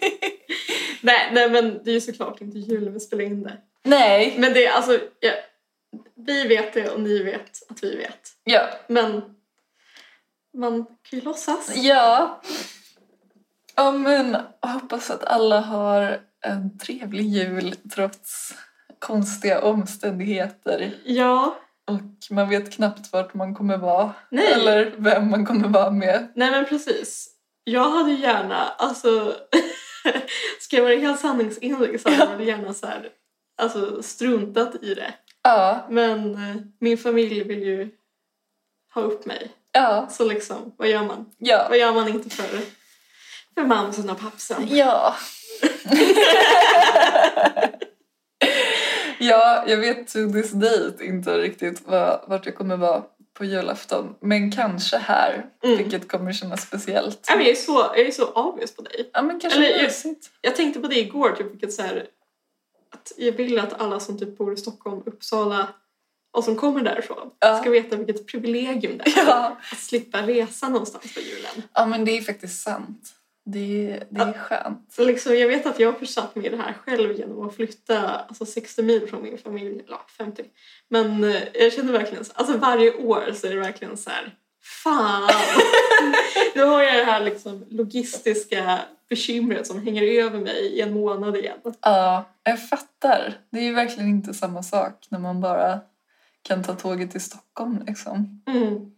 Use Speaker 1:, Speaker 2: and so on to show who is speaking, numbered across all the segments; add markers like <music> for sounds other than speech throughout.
Speaker 1: nej, nej, men det är ju såklart inte jul när vi spelar in det.
Speaker 2: Nej.
Speaker 1: Men det är alltså, ja, vi vet det och ni vet att vi vet.
Speaker 2: Ja.
Speaker 1: Men man kan ju låtsas.
Speaker 2: Ja. Ja men jag hoppas att alla har en trevlig jul trots konstiga omständigheter.
Speaker 1: Ja,
Speaker 2: Och man vet knappt vart man kommer vara.
Speaker 1: nej.
Speaker 2: Eller vem man kommer vara med.
Speaker 1: Nej men precis. Jag hade ju gärna, alltså, <laughs> ska jag vara helt sanningsenlig så hade jag väl gärna så här, alltså, struntat i det.
Speaker 2: Ja.
Speaker 1: Men eh, min familj vill ju ha upp mig.
Speaker 2: Ja.
Speaker 1: Så liksom, vad gör man?
Speaker 2: Ja.
Speaker 1: Vad gör man inte för, för mamsen och pappsen?
Speaker 2: Ja. <laughs> ja, jag vet to this date inte riktigt vad, vart jag kommer vara på julafton. Men kanske här,
Speaker 1: Mm.
Speaker 2: vilket kommer kännas speciellt.
Speaker 1: Nej, men jag, är så, jag är så avis på dig.
Speaker 2: Ja, men kanske
Speaker 1: Eller-
Speaker 2: mysigt.
Speaker 1: Jag tänkte på det igår, typ, vilket så här, att jag vill att alla som typ bor i Stockholm, Uppsala och som kommer därifrån
Speaker 2: Ja.
Speaker 1: ska veta vilket privilegium det är.
Speaker 2: <laughs> Ja.
Speaker 1: att slippa resa någonstans på julen.
Speaker 2: ja, men det är faktiskt sant. Det är, det är skönt.
Speaker 1: Så liksom, jag vet att jag har försatt mig i det här själv genom att flytta alltså 60 mil från min familj, eller ja, 50. Men eh, jag känner verkligen, så- alltså varje år så är det verkligen så här, fan! <laughs> nu har jag det här liksom logistiska bekymret som hänger över mig i en månad igen.
Speaker 2: Ja, jag fattar. Det är ju verkligen inte samma sak när man bara kan ta tåget till Stockholm liksom.
Speaker 1: Mm.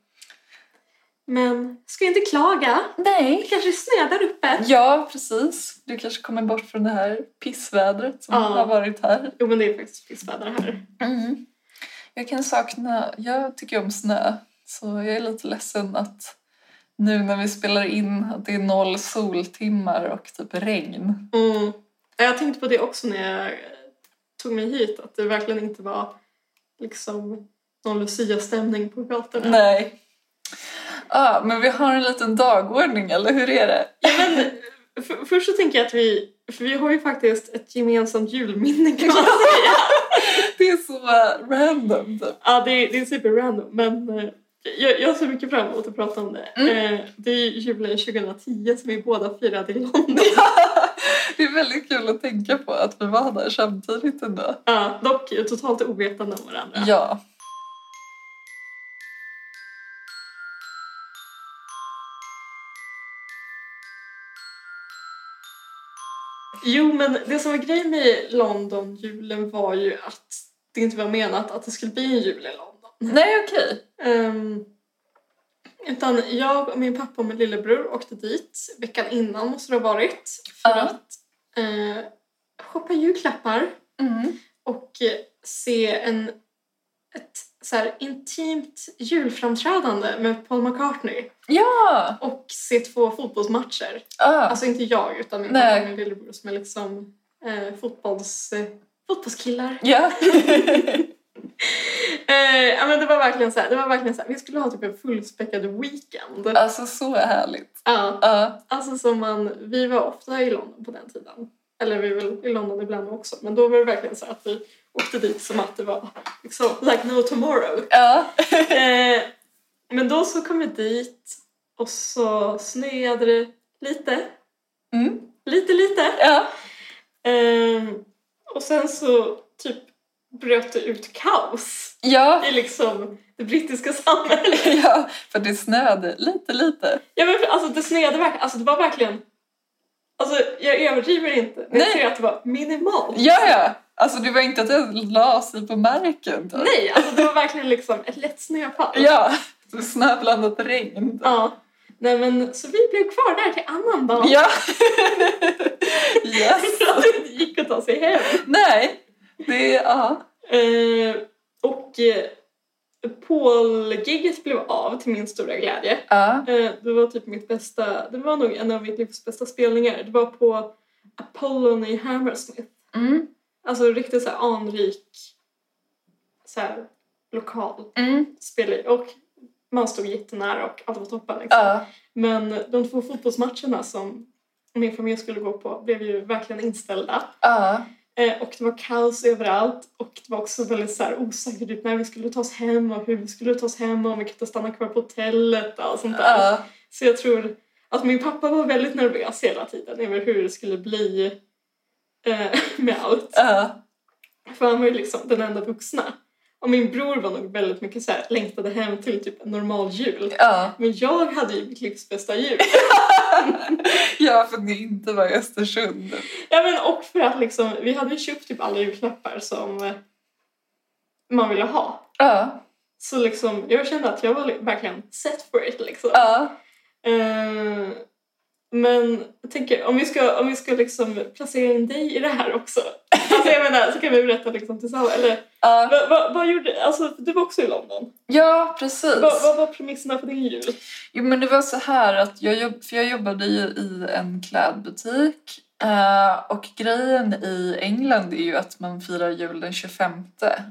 Speaker 1: Men ska jag inte klaga, det
Speaker 2: Nej.
Speaker 1: kanske snöar där uppe.
Speaker 2: Ja, precis. Du kanske kommer bort från det här pissvädret som
Speaker 1: Ja.
Speaker 2: har varit här.
Speaker 1: Jo men det är faktiskt pissväder här.
Speaker 2: Mm. Jag kan sakna, jag tycker om snö, så jag är lite ledsen att nu när vi spelar in att det är noll soltimmar och typ regn.
Speaker 1: Mm. Jag tänkte på det också när jag tog mig hit, att det verkligen inte var liksom någon Lucia-stämning på gatorna.
Speaker 2: Nej. Ja, men vi har en liten dagordning, eller hur är det?
Speaker 1: Ja, men, f- först så tänker jag att vi, för vi har ju faktiskt ett gemensamt julminne
Speaker 2: <laughs>
Speaker 1: kan man säga.
Speaker 2: Det är så eh, random typ.
Speaker 1: Ja, det är, det är super random men eh, jag, jag ser mycket fram emot att prata om det.
Speaker 2: Mm.
Speaker 1: Eh, Det är julen 2010 som vi båda firade i London.
Speaker 2: Det är väldigt kul att tänka på att vi var där samtidigt ändå.
Speaker 1: Ja, dock totalt ovetande om varandra.
Speaker 2: Ja.
Speaker 1: Jo, men det som var grejen med London-julen var ju att det inte var menat att det skulle bli en jul i London.
Speaker 2: Nej, okej.
Speaker 1: Ehm, utan jag och min pappa och min lillebror åkte dit veckan innan måste det ha varit för
Speaker 2: Ja.
Speaker 1: att eh, shoppa julklappar
Speaker 2: Mm.
Speaker 1: och eh, se en, ett så här, intimt julframträdande med Paul McCartney
Speaker 2: Ja!
Speaker 1: och se två fotbollsmatcher.
Speaker 2: Ah.
Speaker 1: Alltså inte jag utan min
Speaker 2: Nej.
Speaker 1: pappa och min lillebror som är liksom eh, fotbolls, eh, fotbollskillar.
Speaker 2: Ja. <laughs>
Speaker 1: Eh, ja, men det var verkligen så här, det var verkligen så här, vi skulle ha typ en fullspäckad weekend.
Speaker 2: alltså så härligt.
Speaker 1: Ja,
Speaker 2: Ja.
Speaker 1: alltså som man, vi var ofta i London på den tiden. Eller vi var väl i London ibland också, men då var det verkligen så här att vi åkte dit som att det var liksom like no tomorrow.
Speaker 2: <laughs> Ja.
Speaker 1: Eh, men då så kom vi dit och så snöade det lite,
Speaker 2: Mm.
Speaker 1: lite, lite.
Speaker 2: Ja.
Speaker 1: Ehm, och sen så typ bröt det ut kaos
Speaker 2: Ja.
Speaker 1: i liksom det brittiska <laughs> samhället.
Speaker 2: ja. För det snöade lite, lite.
Speaker 1: Ja, men, för- alltså, det snöade verkligen, alltså det var verkligen, alltså jag överdriver inte, men jag
Speaker 2: Nej.
Speaker 1: säger att det var minimalt.
Speaker 2: Ja, ja. Alltså det var inte att det la sig på marken. Typ.
Speaker 1: Nej, alltså det var verkligen liksom ett lätt snöfall.
Speaker 2: Ja. Så Snöblandat regn.
Speaker 1: Ja. Nej men så vi blev kvar där till annan dag. <laughs>
Speaker 2: Ja. <laughs> yes.
Speaker 1: För att det inte gick att ta sig hem.
Speaker 2: Nej. Det är... Ja.
Speaker 1: Eh, och eh, Paul-giget blev av till min stora glädje.
Speaker 2: Ja.
Speaker 1: Eh, Det var typ mitt bästa, det var nog en av mitt livs bästa spelningar. Det var på Apollon i Hammersmith.
Speaker 2: Mm.
Speaker 1: Alltså riktigt så här anrik så här, lokal
Speaker 2: Mm.
Speaker 1: spelning. Och man stod jättenära och allt var toppen. Liksom.
Speaker 2: Ja.
Speaker 1: Men de två fotbollsmatcherna som min familj skulle gå på blev ju verkligen inställda.
Speaker 2: Ja.
Speaker 1: Eh, och det var kaos överallt och det var också väldigt så här osäkert typ när vi skulle ta oss hem och hur vi skulle ta oss hem och om vi kunde stanna kvar på hotellet och allt sånt där.
Speaker 2: Ja.
Speaker 1: Så jag tror, att min pappa var väldigt nervös hela tiden över hur det skulle bli eh, <laughs> med allt.
Speaker 2: Ja.
Speaker 1: För han var ju liksom den enda vuxna. Och min bror var nog väldigt mycket så här, längtade hem till typ en normal jul.
Speaker 2: Ja.
Speaker 1: Men jag hade ju mitt livs bästa jul. <laughs>
Speaker 2: ja, för ni inte var i Östersund.
Speaker 1: ja, men och för att liksom, vi hade ju köpt typ alla julklappar som eh, man ville ha.
Speaker 2: Ja.
Speaker 1: Så liksom, jag kände att jag var li- verkligen set for it liksom.
Speaker 2: Ja.
Speaker 1: Eh, men jag tänker, om vi ska, om vi ska liksom placera in dig i det här också. Alltså jag menar, så kan vi berätta liksom tillsammans. Eller,
Speaker 2: Ja,
Speaker 1: vad, vad, vad gjorde, alltså du var också i London.
Speaker 2: ja precis.
Speaker 1: Vad, vad var premisserna för din jul?
Speaker 2: Jo, men det var så här att jag, jobb, för jag jobbade ju i en klädbutik eh, och grejen i England är ju att man firar jul den 25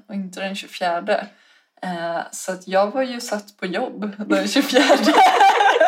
Speaker 2: och inte den 24. Eh, så att jag var ju satt på jobb den 24.
Speaker 1: <laughs>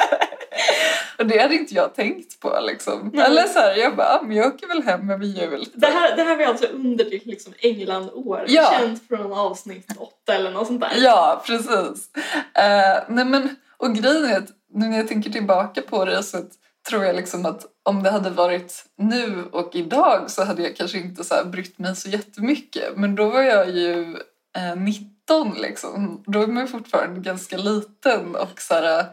Speaker 2: och det hade inte jag tänkt på liksom.
Speaker 1: Nej.
Speaker 2: Eller så här, jag bara, ah, men jag åker väl hem över jul.
Speaker 1: Det här, det här var alltså under ditt liksom England-år,
Speaker 2: Ja.
Speaker 1: känt från avsnitt åtta eller något sånt där.
Speaker 2: Ja, precis. Eh, nej men, och grejen är att nu när jag tänker tillbaka på det så att, tror jag liksom att om det hade varit nu och idag så hade jag kanske inte så här brytt mig så jättemycket. Men då var jag ju eh, 19 liksom. Då är man ju fortfarande ganska liten och så här, eh,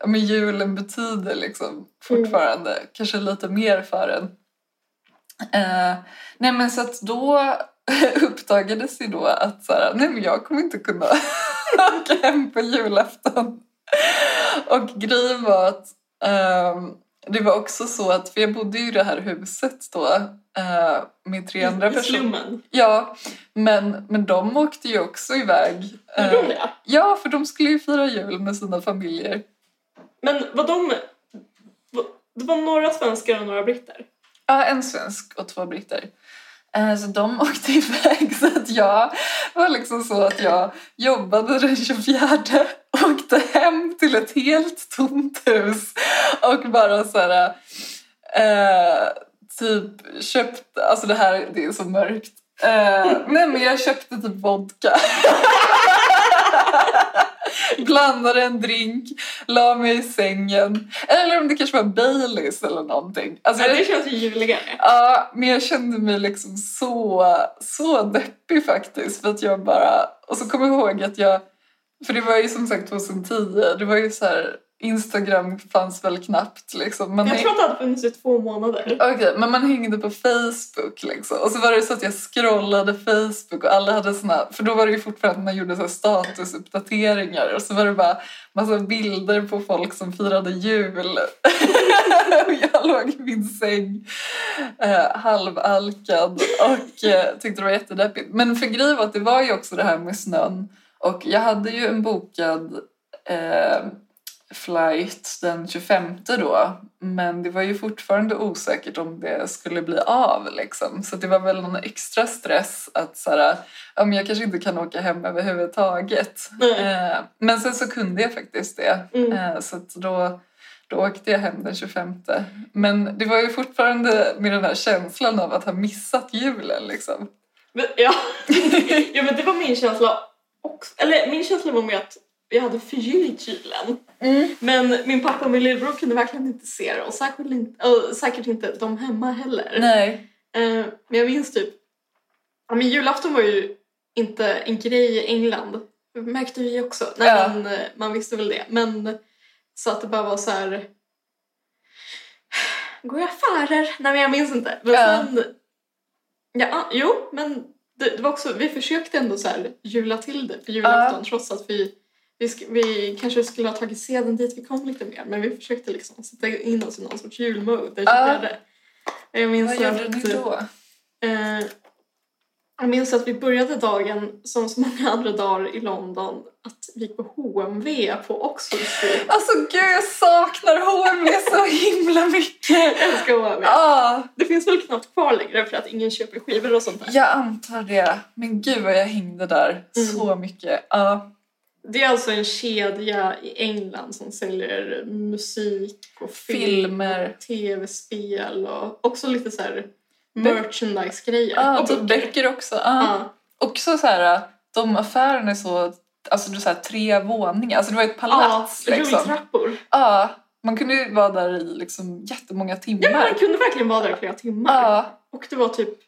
Speaker 2: ja, men julen betyder liksom fortfarande kanske lite mer för en. Eh, nej men så att då <laughs> uppdagades ju då att så här, nej men jag kommer inte kunna åka hem på julafton. Och grejen var att ehm, det var också så att, för jag bodde ju i det här huset då eh, med
Speaker 1: I-
Speaker 2: 300
Speaker 1: I
Speaker 2: personer.
Speaker 1: slummen.
Speaker 2: Ja, men, men de åkte ju också iväg.
Speaker 1: Gjorde
Speaker 2: Eh,
Speaker 1: de det?
Speaker 2: ja, för de skulle ju fira jul med sina familjer.
Speaker 1: Men var de... var- Det var några svenskar och några britter.
Speaker 2: Ja, en svensk och två britter. Eh, Så de <laughs> åkte iväg så att jag var liksom så att jag jobbade den 24 åkte hem till ett helt tomt hus och bara så här eh, typ köpte, alltså det här det är så mörkt. Eh, nej men jag köpte typ vodka. <laughs> Blandade en drink, la mig i sängen. Eller om det kanske var Baileys eller någonting. Alltså,
Speaker 1: Ja,
Speaker 2: jag-
Speaker 1: det känns ju juligare.
Speaker 2: Ja, men jag kände mig liksom så, så deppig faktiskt. För att jag bara... Och så kommer jag ihåg att jag... För det var ju som sagt 2010. Det var ju så här... Instagram fanns väl knappt liksom. Man
Speaker 1: Jag
Speaker 2: häng-
Speaker 1: tror att det hade funnits i två månader.
Speaker 2: <laughs> Okej, men man hängde på Facebook liksom. Och så var det så att jag scrollade Facebook och alla hade såna... För då var det ju fortfarande att man gjorde så här statusuppdateringar och så var det bara massa bilder på folk som firade jul. <laughs> och jag låg i min säng eh, halvalkad och eh, tyckte det var jättedeppigt. Men för grejen var att det var ju också det här med snön och jag hade ju en bokad eh, flight den 25 då. Men det var ju fortfarande osäkert om det skulle bli av. Liksom. Så det var väl någon extra stress att så här, ja, men jag kanske inte kan åka hem överhuvudtaget.
Speaker 1: Nej.
Speaker 2: Eh, men sen så kunde jag faktiskt det.
Speaker 1: Mm.
Speaker 2: Eh, så att då, då åkte jag hem den 25. Men det var ju fortfarande med den här känslan av att ha missat julen. Liksom.
Speaker 1: Men, ja. <laughs> ja, men det var min känsla också. Eller min känsla var mer att jag hade förgyllt julen. Men min pappa och min lillebror kunde verkligen inte se det och särskilt inte, och säkert inte de hemma heller.
Speaker 2: Nej.
Speaker 1: Eh, men jag minns typ, ja men julafton var ju inte en grej i England. Märkte vi också. Nej,
Speaker 2: Ja.
Speaker 1: men, eh, man visste väl det. Men så att det bara var så här. Går jag i affärer? Nej men jag minns inte. Men
Speaker 2: Ja.
Speaker 1: sen, ja, ah, jo men det, det var också, vi försökte ändå så här jula till det på julafton trots att vi, vi, sk- vi kanske skulle ha tagit seden dit vi kom lite mer men vi försökte liksom sätta in oss i någon sorts julmode den
Speaker 2: Ja.
Speaker 1: 24. Jag minns
Speaker 2: Vad gjorde
Speaker 1: att,
Speaker 2: ni då?
Speaker 1: Eh, jag minns att vi började dagen, som så många andra dagar i London, att vi gick på HMV på Oxford Street.
Speaker 2: Alltså gud, jag saknar HMV så himla mycket!
Speaker 1: Jag älskar HMV.
Speaker 2: Ah,
Speaker 1: Det finns väl knappt kvar längre för att ingen köper skivor och sånt där.
Speaker 2: jag antar det. Men gud vad jag hängde där
Speaker 1: Mm.
Speaker 2: så mycket. Ah. Ja.
Speaker 1: Det är alltså en kedja i England som säljer musik och film,
Speaker 2: Filmer.
Speaker 1: och tv-spel och också lite så här merchandise-grejer.
Speaker 2: Ah,
Speaker 1: och
Speaker 2: Mm. typ
Speaker 1: böcker.
Speaker 2: böcker också. Ah.
Speaker 1: Ja.
Speaker 2: Också så här, de affärerna är så, alltså det är så här, tre våningar, alltså det var ett
Speaker 1: Ja,
Speaker 2: palats. liksom.
Speaker 1: rulltrappor.
Speaker 2: Ja, Man kunde ju vara där i liksom jättemånga timmar. Ah.
Speaker 1: Ja, men man kunde verkligen vara där i flera timmar.
Speaker 2: Ja,
Speaker 1: Och det var typ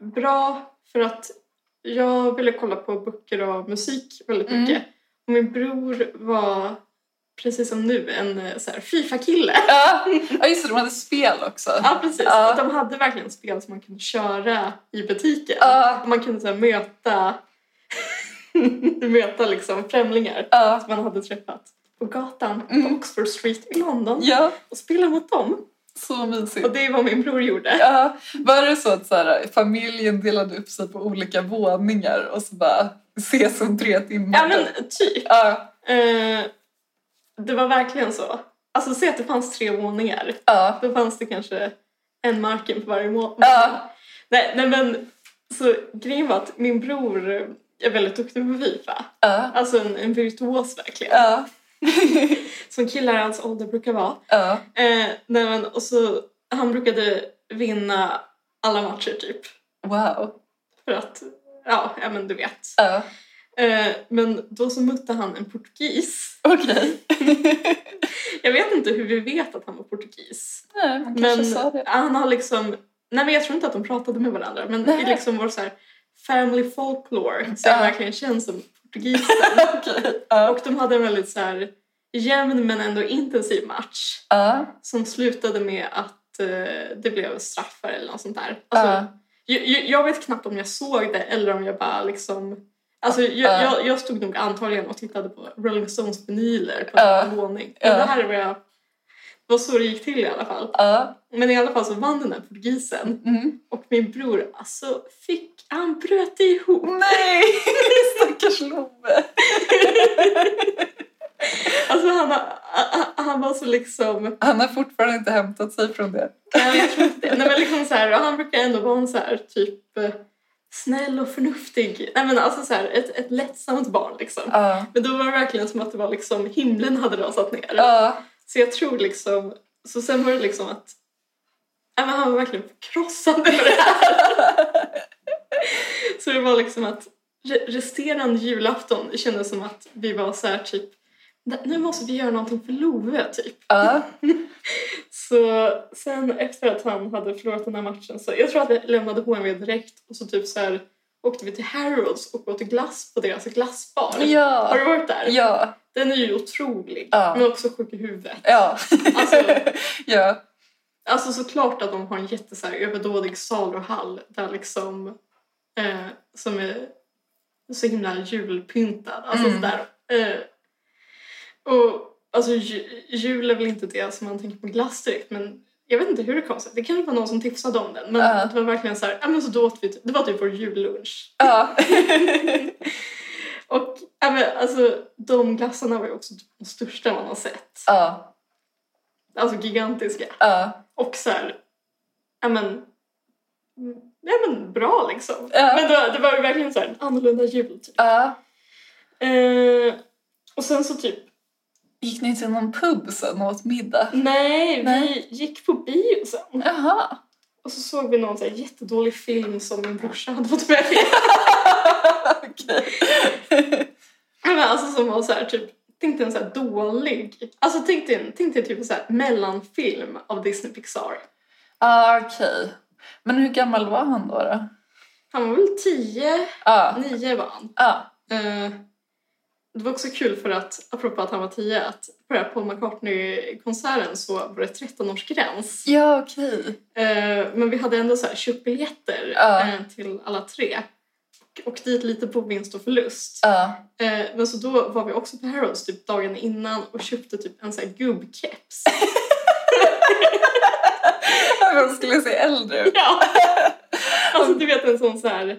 Speaker 1: bra för att jag ville kolla på böcker och musik väldigt
Speaker 2: Mm.
Speaker 1: mycket. Och min bror var, precis som nu, en eh, så här, Fifa-kille. <laughs>
Speaker 2: ja. Ah. ja, just det, de hade spel också.
Speaker 1: Ja, precis.
Speaker 2: Ja.
Speaker 1: Och De hade verkligen spel som man kunde köra i butiken.
Speaker 2: Ja.
Speaker 1: Och man kunde så här, möta, <laughs> möta liksom, främlingar
Speaker 2: Ja,
Speaker 1: som man hade träffat på gatan på
Speaker 2: Mm.
Speaker 1: Oxford Street i London
Speaker 2: ja
Speaker 1: och spela mot dem.
Speaker 2: så mysigt.
Speaker 1: Och det är vad min bror gjorde.
Speaker 2: Ja, var det så att så här, familjen delade upp sig på olika våningar och så bara ses om tre timmar?
Speaker 1: Ja, men typ.
Speaker 2: ja,
Speaker 1: Eh, det var verkligen så. Alltså se att det fanns tre våningar.
Speaker 2: ja,
Speaker 1: Då fanns det kanske en marken på varje våning.
Speaker 2: Ja.
Speaker 1: Nej, nej men så grejen var att min bror eh, är väldigt duktig på Fifa.
Speaker 2: ja,
Speaker 1: Alltså en, en virtuos verkligen.
Speaker 2: ja,
Speaker 1: Som killar i hans ålder brukar vara.
Speaker 2: ja.
Speaker 1: Eh, nej men och så han brukade vinna alla matcher typ.
Speaker 2: Wow.
Speaker 1: För att, ja, ja men du vet.
Speaker 2: Ja,
Speaker 1: Eh, men då så mötte han en portugis.
Speaker 2: okej.
Speaker 1: Jag vet inte hur vi vet att han var portugis.
Speaker 2: Nej, man kanske
Speaker 1: Men
Speaker 2: sa
Speaker 1: <laughs>
Speaker 2: det.
Speaker 1: han har liksom... Nej men jag tror inte att de pratade med varandra men
Speaker 2: Nej.
Speaker 1: i liksom vår så här family folklore så
Speaker 2: Ja.
Speaker 1: han verkligen känns som portugis.
Speaker 2: Okej. Ja,
Speaker 1: Och de hade en väldigt så här jämn men ändå intensiv match
Speaker 2: ja,
Speaker 1: som slutade med att eh, det blev straffar eller något sånt där. Alltså,
Speaker 2: ja.
Speaker 1: jag, jag- jag vet knappt om jag såg det eller om jag bara liksom... Alltså jag,
Speaker 2: Ja.
Speaker 1: jag, jag stod nog antagligen och tittade på Rolling Stones vinyler på
Speaker 2: Ja.
Speaker 1: en våning. Men
Speaker 2: Ja.
Speaker 1: det här var jag... Det var så det gick till i alla fall.
Speaker 2: ja.
Speaker 1: Men i alla fall så vann den här portugisen.
Speaker 2: Mm.
Speaker 1: Och min bror, alltså fick... Han bröt ihop.
Speaker 2: Nej, stackars Love.
Speaker 1: Alltså han, har- han- han var så liksom...
Speaker 2: Han har fortfarande inte hämtat sig från det.
Speaker 1: Nej, jag tror inte det. Nej, men liksom så här, och han brukar ändå vara en så här typ eh, snäll och förnuftig. Nej men alltså så här, ett, ett lättsamt barn liksom.
Speaker 2: Ja,
Speaker 1: Men då var det verkligen som att det var liksom himlen hade rasat ner.
Speaker 2: ja,
Speaker 1: Så jag tror liksom, så sen var det liksom att ja, men han var verkligen förkrossad över det här. så det var liksom att re- resterande julafton kändes som att vi var så här typ nu måste vi göra någonting för Love typ.
Speaker 2: ja.
Speaker 1: Så sen efter att han hade förlorat den här matchen så jag tror att vi lämnade HMV direkt och så typ så här åkte vi till Harrods och åt glass på deras glassbar. Har
Speaker 2: Ja,
Speaker 1: du varit där?
Speaker 2: ja,
Speaker 1: Den är ju otrolig,
Speaker 2: Ja.
Speaker 1: men också sjuk i huvudet.
Speaker 2: ja.
Speaker 1: Alltså,
Speaker 2: <laughs> ja.
Speaker 1: alltså såklart att de har en jätte, så här, överdådig saluhall där liksom, eh, som är så himla julpyntad. Alltså
Speaker 2: Mm.
Speaker 1: sådär. Eh, och alltså ju, jul är väl inte det som man tänker på glass direkt men jag vet inte hur det kom sig. Det kanske var någon som tipsade om den men
Speaker 2: Ja.
Speaker 1: det var verkligen så här, ja men så då åt vi, det var typ
Speaker 2: <laughs>
Speaker 1: vår jullunch.
Speaker 2: ja.
Speaker 1: Och ja, men, alltså de glassarna var ju också typ de största man har sett.
Speaker 2: Ja,
Speaker 1: Alltså gigantiska.
Speaker 2: ja,
Speaker 1: Och så här, ja men, ja men bra liksom.
Speaker 2: Ja.
Speaker 1: Men det, det var ju verkligen så här, en annorlunda jul typ.
Speaker 2: ja.
Speaker 1: Eh, och sen så typ,
Speaker 2: Gick ni till någon pub sen och åt middag?
Speaker 1: nej,
Speaker 2: Nej.
Speaker 1: vi gick på bio sen.
Speaker 2: Jaha.
Speaker 1: Och så såg vi någon så här jättedålig film som min brorsa hade fått med mig. <laughs>
Speaker 2: Okej.
Speaker 1: Ja, men alltså som var så här typ, tänk dig en så här dålig, alltså tänk dig, en- tänk dig typ en så här mellanfilm av Disney Pixar.
Speaker 2: Ja, Ah, okej. Men hur gammal var han då? då? Ah,
Speaker 1: Han var väl tio,
Speaker 2: Ja,
Speaker 1: nio var han.
Speaker 2: ja.
Speaker 1: Eh, det var också kul för att, apropå att han var 10, att på den här Paul McCartney-konserten så var det 13-årsgräns.
Speaker 2: Ja, okej.
Speaker 1: Eh, men vi hade ändå så här, köpt biljetter
Speaker 2: Ja.
Speaker 1: eh, till alla tre. Och, och dit lite på vinst och förlust.
Speaker 2: Ja,
Speaker 1: Eh, men så då var vi också på Harrods typ dagen innan och köpte typ en så här
Speaker 2: <laughs>
Speaker 1: gubbkeps.
Speaker 2: han skulle se äldre ut.
Speaker 1: ja! Alltså du vet en sån så här...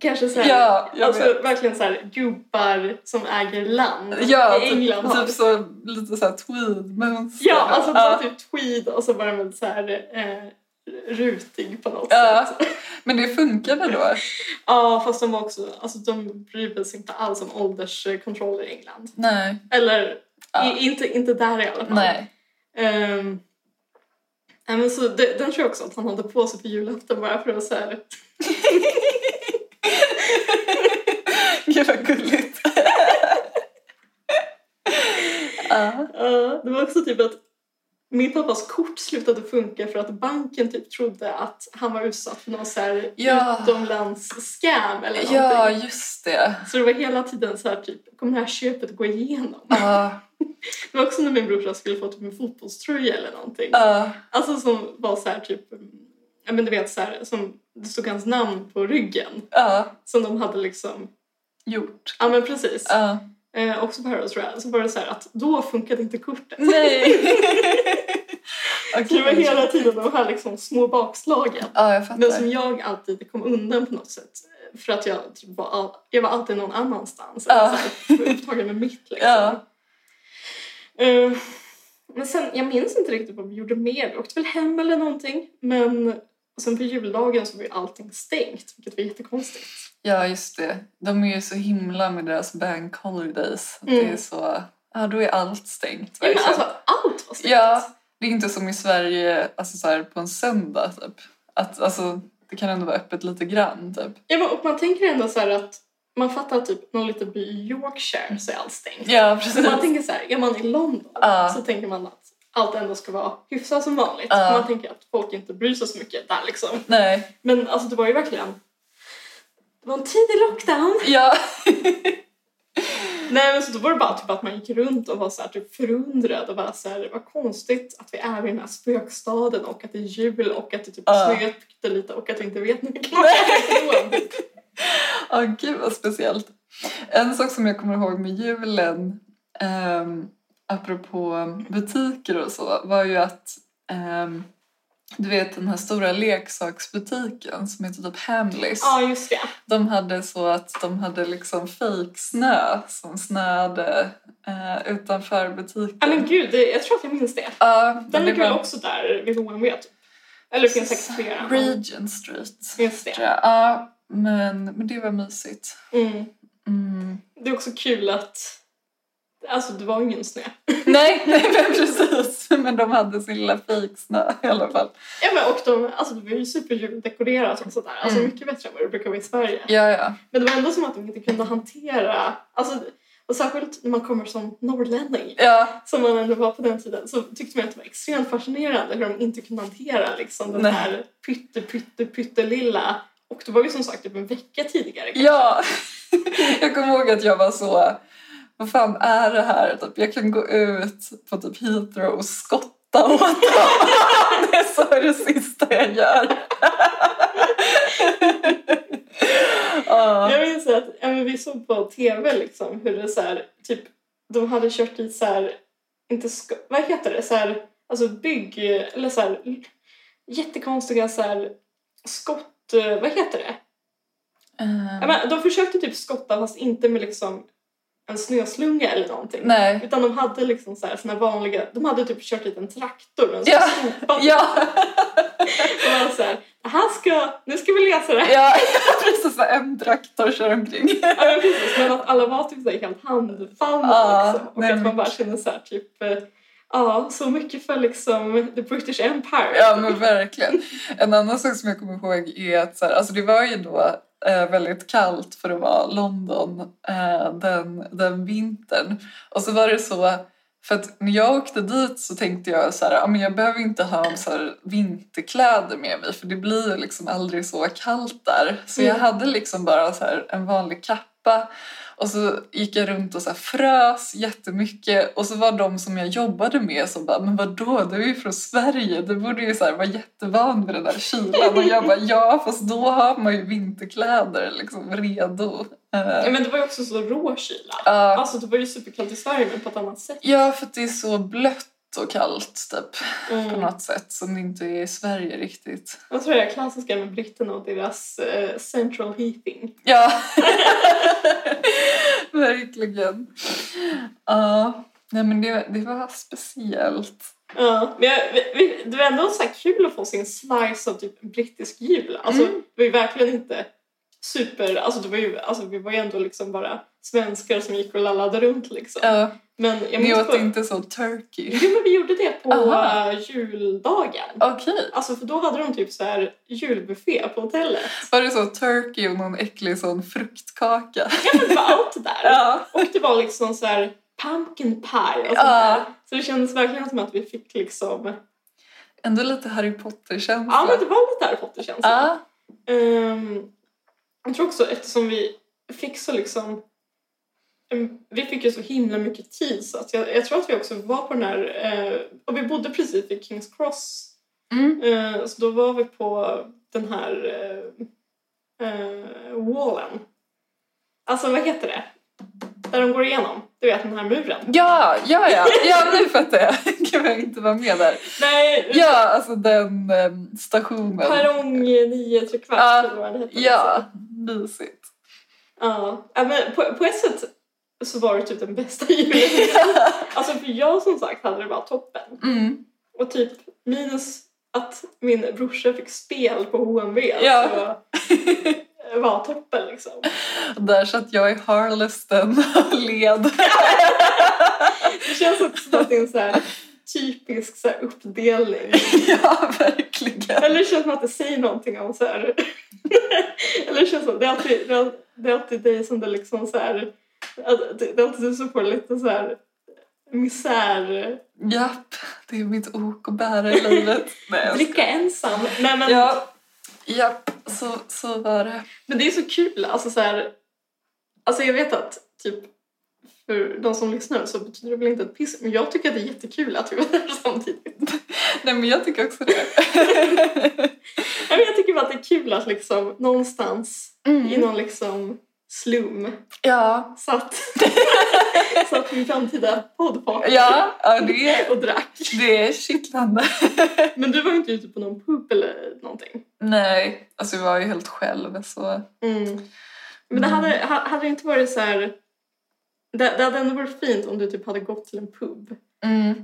Speaker 1: Kanske så här,
Speaker 2: Ja, jag
Speaker 1: alltså
Speaker 2: vet.
Speaker 1: verkligen så här gubbar som äger land
Speaker 2: Ja,
Speaker 1: i England
Speaker 2: typ,
Speaker 1: har.
Speaker 2: typ så lite så här tweedmönster. Ah.
Speaker 1: Ja, alltså det var
Speaker 2: ja.
Speaker 1: typ tweed och så var den väl så här eh, rutig på något
Speaker 2: Ja.
Speaker 1: sätt.
Speaker 2: Men det funkade då?
Speaker 1: Ja, fast de var också, alltså de brydde sig inte alls om ålderskontroller i England.
Speaker 2: Nej.
Speaker 1: Eller
Speaker 2: Ja.
Speaker 1: i, inte, inte där i alla fall.
Speaker 2: Nej.
Speaker 1: Ehm, nej, men så det, den tror jag också att han hade på sig på julafton bara för att så
Speaker 2: <laughs>
Speaker 1: här,
Speaker 2: Gud vad gulligt. Ja. Ah.
Speaker 1: Ja, det var också typ att Min pappas kort slutade funka för att banken typ trodde att han var utsatt för någon så här
Speaker 2: Ja.
Speaker 1: utomlands-scam eller någonting.
Speaker 2: Ja, just det.
Speaker 1: Så Alltså, det var hela tiden så här typ, kommer det här köpet gå igenom?
Speaker 2: Ja,
Speaker 1: Det var också när min brorsa skulle få typ en fotbollströja eller någonting.
Speaker 2: ja,
Speaker 1: Alltså som var så här typ, ja men du vet så här, som det stod hans namn på ryggen.
Speaker 2: ja.
Speaker 1: Som de hade liksom,
Speaker 2: Gjort.
Speaker 1: ja men precis.
Speaker 2: Ja.
Speaker 1: Eh, också på Harrods tror jag. Så var det så här att då funkade inte kortet.
Speaker 2: Mm.
Speaker 1: <laughs>
Speaker 2: Nej!
Speaker 1: Så det var
Speaker 2: Okej.
Speaker 1: hela tiden de här liksom små bakslagen.
Speaker 2: Ja, jag
Speaker 1: Men som
Speaker 2: fattar.
Speaker 1: jag alltid kom undan på något sätt. För att jag, typ var, all, jag var alltid någon annanstans.
Speaker 2: Ja.
Speaker 1: Så här, upptagen med mitt liksom.
Speaker 2: Ja.
Speaker 1: Eh, men sen, jag minns inte riktigt vad vi gjorde mer. Vi åkte väl hem eller någonting. Men sen på juldagen så var ju allting stängt. Vilket var jättekonstigt.
Speaker 2: Ja, just det. De är ju så himla med deras bank holidays. Det är
Speaker 1: Mm.
Speaker 2: så... Ja, då är allt stängt.
Speaker 1: Ja, men
Speaker 2: verkligen.
Speaker 1: alltså allt var stängt.
Speaker 2: Ja, det är inte som i Sverige alltså så här, på en söndag typ. Att, alltså, det kan ändå vara öppet lite grann typ.
Speaker 1: Ja, men, och man tänker ändå så här att man fattar typ någon liten by i Yorkshire så är allt stängt.
Speaker 2: Ja,
Speaker 1: Så
Speaker 2: precis. <laughs>
Speaker 1: man tänker så här, är man i London
Speaker 2: Ja.
Speaker 1: så tänker man att allt ändå ska vara hyfsat som vanligt.
Speaker 2: Ja.
Speaker 1: Man tänker att folk inte bryr sig så mycket där liksom.
Speaker 2: Nej,
Speaker 1: Men alltså det var ju verkligen... Det var en tidig lockdown.
Speaker 2: ja.
Speaker 1: Nej men så då var det bara typ att man gick runt och var så här typ förundrad och bara så här, vad konstigt att vi är i den här spökstaden och att det är jul och att det typ
Speaker 2: Ja.
Speaker 1: snöar lite och att jag inte vet när vi kan åka härifrån.
Speaker 2: <laughs> Ja, gud vad speciellt. En sak som jag kommer ihåg med julen, um, apropå butiker och så, var ju att ehm, du vet den här stora leksaksbutiken som heter typ Hamleys.
Speaker 1: Ja just det.
Speaker 2: De hade så att de hade liksom fejksnö som snöade eh, utanför butiken.
Speaker 1: Ja men gud, det, jag tror att jag minns det.
Speaker 2: Ja, men
Speaker 1: Den
Speaker 2: det
Speaker 1: ligger väl
Speaker 2: var
Speaker 1: också där vid HMV typ. Eller det finns säkert flera. men-
Speaker 2: Regent Street.
Speaker 1: Just det.
Speaker 2: tror jag. Ja, men, men det var mysigt.
Speaker 1: Mm.
Speaker 2: Mm.
Speaker 1: Det är också kul att... Alltså det var ingen snö.
Speaker 2: nej, <laughs> nej, men precis. Men de hade sin lilla fejksnö i alla fall.
Speaker 1: Ja men och de, alltså det var ju superjuldekorerat och sådär. Alltså
Speaker 2: Mm.
Speaker 1: mycket bättre än vad det brukar vara i Sverige.
Speaker 2: Ja, ja.
Speaker 1: Men det var ändå som att de inte kunde hantera... Alltså, och särskilt när man kommer som norrlänning,
Speaker 2: ja.
Speaker 1: som man ändå var på den tiden, så tyckte man att det var extremt fascinerande hur de inte kunde hantera liksom, den
Speaker 2: Nej.
Speaker 1: här pytte, pytte, pyttelilla... Och det var ju som sagt typ en vecka tidigare.
Speaker 2: Ja, <laughs> jag kommer ihåg att jag var så, vad fan är det här? Typ, jag kan gå ut på typ Heathrow och skotta åt dem. <laughs> Det är så det sista jag gör. <laughs> Ja,
Speaker 1: Jag minns att ja, men vi såg på tv liksom, hur det så här, typ, de hade kört i så här, inte sko- vad heter det, så här, alltså bygg, eller så här, l- jättekonstiga så här, skott, eh, vad heter det? Ja,
Speaker 2: Ehm,
Speaker 1: men, de försökte typ skotta fast inte med liksom en snöslunga eller någonting.
Speaker 2: Nej.
Speaker 1: Utan de hade liksom så här, sina vanliga, de hade typ kört hit en traktor, en
Speaker 2: Ja.
Speaker 1: ja. skopa.
Speaker 2: Ja, <laughs>
Speaker 1: Och man så här, det här ska, nu ska vi läsa det här.
Speaker 2: ja, precis. så En traktor kör omkring.
Speaker 1: Ja, men precis. Men att alla var typ så här helt handfallna
Speaker 2: Ja,
Speaker 1: liksom. Och
Speaker 2: nej,
Speaker 1: att
Speaker 2: men-
Speaker 1: man bara kände så här typ... eh, Ja, så mycket för liksom the British Empire.
Speaker 2: Ja men verkligen. En annan sak som jag kommer ihåg är att så här, alltså det var ju då eh, väldigt kallt för att vara London eh, den, den vintern. Och så var det så, för att när jag åkte dit så tänkte jag så här, "Ja, men jag behöver inte ha så här, vinterkläder med mig för det blir ju liksom aldrig så kallt där. Så jag
Speaker 1: Mm.
Speaker 2: hade liksom bara så här, en vanlig kappa och så gick jag runt och så här frös jättemycket och så var de som jag jobbade med som bara “men vadå, du är ju från Sverige, du borde ju så här vara jättevan vid den där kylan” och jag bara “ja, fast då har man ju vinterkläder liksom redo”. Eh,
Speaker 1: Ja, men det var ju också så rå kyla.
Speaker 2: ja.
Speaker 1: Alltså det var ju superkallt i Sverige men på ett annat sätt.
Speaker 2: ja, för att det är så blött och kallt typ på
Speaker 1: Mm.
Speaker 2: något sätt som det inte är i Sverige riktigt.
Speaker 1: Jag tror det är klassiska med britterna och deras eh, central heating.
Speaker 2: Ja, <laughs> verkligen. Ja, nej men det, det var speciellt.
Speaker 1: Ja, men jag, vi, vi, det var ändå så här kul att få sin slice av typ brittisk jul. Alltså,
Speaker 2: Mm.
Speaker 1: Det var ju verkligen inte super... Alltså, det var ju, alltså, vi var ju ändå liksom bara svenskar som gick och lallade runt. Liksom.
Speaker 2: Ja.
Speaker 1: Men jag
Speaker 2: Ni
Speaker 1: minns
Speaker 2: åt
Speaker 1: på,
Speaker 2: inte så turkey?
Speaker 1: <laughs> Jo, men vi gjorde det på
Speaker 2: Aha.
Speaker 1: eh, juldagen.
Speaker 2: Okej.
Speaker 1: Alltså för då hade de typ så här julbuffé
Speaker 2: <laughs>
Speaker 1: på hotellet.
Speaker 2: Var det så turkey och någon äcklig sån fruktkaka?
Speaker 1: Ja, men det var allt där.
Speaker 2: Ja.
Speaker 1: Och det var liksom så här pumpkin pie och sånt
Speaker 2: Ja.
Speaker 1: där. Så det kändes verkligen som att vi fick liksom...
Speaker 2: Ändå lite Harry Potter-känsla.
Speaker 1: Ja, men det var lite Harry Potter-känsla.
Speaker 2: Ja,
Speaker 1: Ehm, jag tror också eftersom vi fick så liksom... em, Vi fick ju så himla mycket tid så att jag, jag tror att vi också var på den här... eh, och vi bodde precis vid Kings Cross.
Speaker 2: mm.
Speaker 1: eh, så då var vi på den här eh, eh, wallen. Alltså vad heter det? Där de går igenom. Du vet den här muren.
Speaker 2: ja, ja, ja. ja nu fattar <laughs> jag. Gud, jag inte var med där.
Speaker 1: Nej,
Speaker 2: Ja, alltså den em, stationen.
Speaker 1: perrong 9 trekvarts
Speaker 2: Ja.
Speaker 1: eller vad den heter.
Speaker 2: Ja,
Speaker 1: <laughs>
Speaker 2: mysigt.
Speaker 1: Ja, ja, men på, på ett sätt så var det typ den bästa <laughs> julen. Alltså för jag som sagt hade det bara toppen.
Speaker 2: Mm.
Speaker 1: Och typ minus att min brorsa fick spel på HMV
Speaker 2: Ja.
Speaker 1: så alltså, eh, var toppen liksom.
Speaker 2: Där satt jag i Harlesten och led. <laughs>
Speaker 1: Det känns också som att det är en så här typisk så här uppdelning.
Speaker 2: Ja, verkligen.
Speaker 1: Eller det känns som att det säger någonting om så här. <laughs> Eller det känns som det är alltid, det är, det är alltid dig som det liksom så här. att Det det är alltid du som får lite så här misär...
Speaker 2: Japp, det är mitt ok att bära i livet. Nej, jag
Speaker 1: Dricka ensam. Nej, men,
Speaker 2: Ja, japp, så, så var det.
Speaker 1: men det är så kul. Alltså, så här, alltså jag vet att typ för de som lyssnar så betyder det väl inte ett piss. Men jag tycker att det är jättekul att vi var där <laughs> samtidigt.
Speaker 2: Nej, men jag tycker också det.
Speaker 1: Nej, men jag tycker bara att det är kul att liksom någonstans i
Speaker 2: Mm.
Speaker 1: någon liksom slum
Speaker 2: Ja, <laughs>
Speaker 1: satt, satt min framtida poddpartner
Speaker 2: ja, ja det, är,
Speaker 1: och drack.
Speaker 2: det är kittlande.
Speaker 1: Men du var ju inte ute på någon pub eller någonting. Mm.
Speaker 2: Nej, alltså jag var ju helt själv så...
Speaker 1: Men det
Speaker 2: Mm.
Speaker 1: hade, ha- hade det inte varit så här... Det, det hade ändå varit fint om du typ hade gått till en pub
Speaker 2: Mm.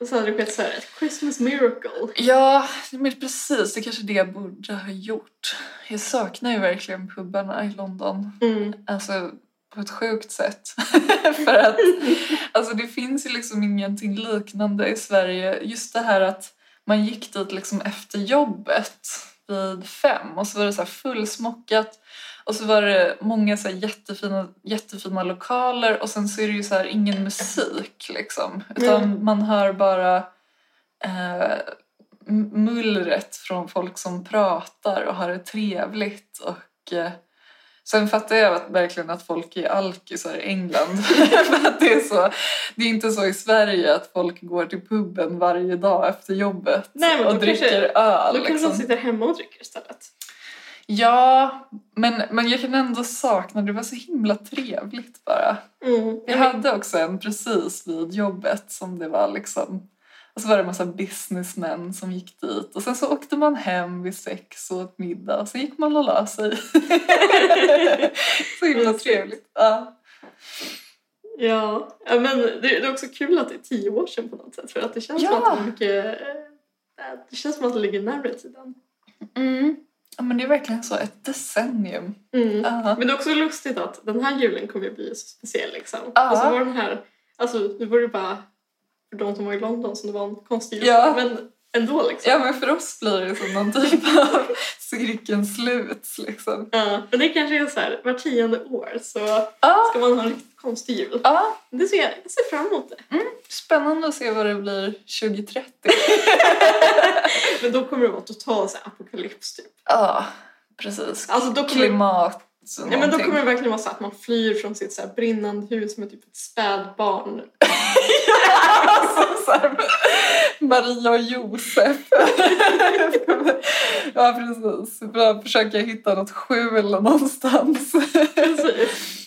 Speaker 1: Och så hade det skett så här, ett Christmas miracle.
Speaker 2: Ja, men precis, det är kanske det jag borde ha gjort. Jag saknar ju verkligen pubarna i London. Alltså på ett sjukt sätt. <laughs> För att alltså, det finns ju liksom ingenting liknande i Sverige. Just det här att man gick dit liksom efter jobbet vid fem och så var det så här fullsmockat och så var det många så här jättefina, jättefina lokaler och sen så är det ju så här ingen musik liksom. Utan man hör bara eh, m- mullret från folk som pratar och har det trevligt och eh, Sen fattar jag att, verkligen att folk är alkisar i England. <laughs> För att det, är så, det är inte så i Sverige att folk går till puben varje dag efter jobbet
Speaker 1: Nej, men då
Speaker 2: och dricker
Speaker 1: kanske-
Speaker 2: öl.
Speaker 1: Då kanske
Speaker 2: liksom.
Speaker 1: de sitter hemma och dricker istället.
Speaker 2: Ja, men, men jag kan ändå sakna det. Det var så himla trevligt bara.
Speaker 1: Mm.
Speaker 2: Jag hade också en precis vid jobbet som det var liksom... Och så var det en massa businessmän som gick dit. Och sen så åkte man hem vid sex och åt middag. Och sen gick man och la sig. <laughs> så himla
Speaker 1: Mysigt.
Speaker 2: trevligt. Ja.
Speaker 1: Ja. ja, men det, det är också kul att det är tio år sedan på något sätt. För att det känns
Speaker 2: Ja.
Speaker 1: som att det är mycket... eh, Det känns som att det ligger närmare tiden.
Speaker 2: ja, men det är verkligen så. Ett decennium.
Speaker 1: Mm.
Speaker 2: Ja.
Speaker 1: Men det är också lustigt att den här julen kommer ju bli så speciell liksom.
Speaker 2: Ja.
Speaker 1: Och så var den här... Alltså nu var det bara för de som var i London som det var en konstig jul.
Speaker 2: Ja.
Speaker 1: Men ändå liksom.
Speaker 2: ja, men för oss blir det som någon typ av cirkelns slut. Liksom.
Speaker 1: Ja, Men det kanske är så här, var tionde år så
Speaker 2: Ja,
Speaker 1: ska man ha en riktigt konstig jul.
Speaker 2: ja,
Speaker 1: Det ser jag, jag ser fram emot det.
Speaker 2: spännande att se vad det blir 2030.
Speaker 1: Men då kommer det vara total så här, apokalyps typ.
Speaker 2: Ja, precis.
Speaker 1: Alltså, då kommer-
Speaker 2: Klimat
Speaker 1: Ja, men då
Speaker 2: någonting.
Speaker 1: kommer det verkligen vara så att man flyr från sitt så här, brinnande hus med typ ett spädbarn. <laughs>
Speaker 2: Som Alltså, så här, Maria och Josef. ja, precis. Bara försöka hitta något skjul någonstans.
Speaker 1: Precis. Alltså,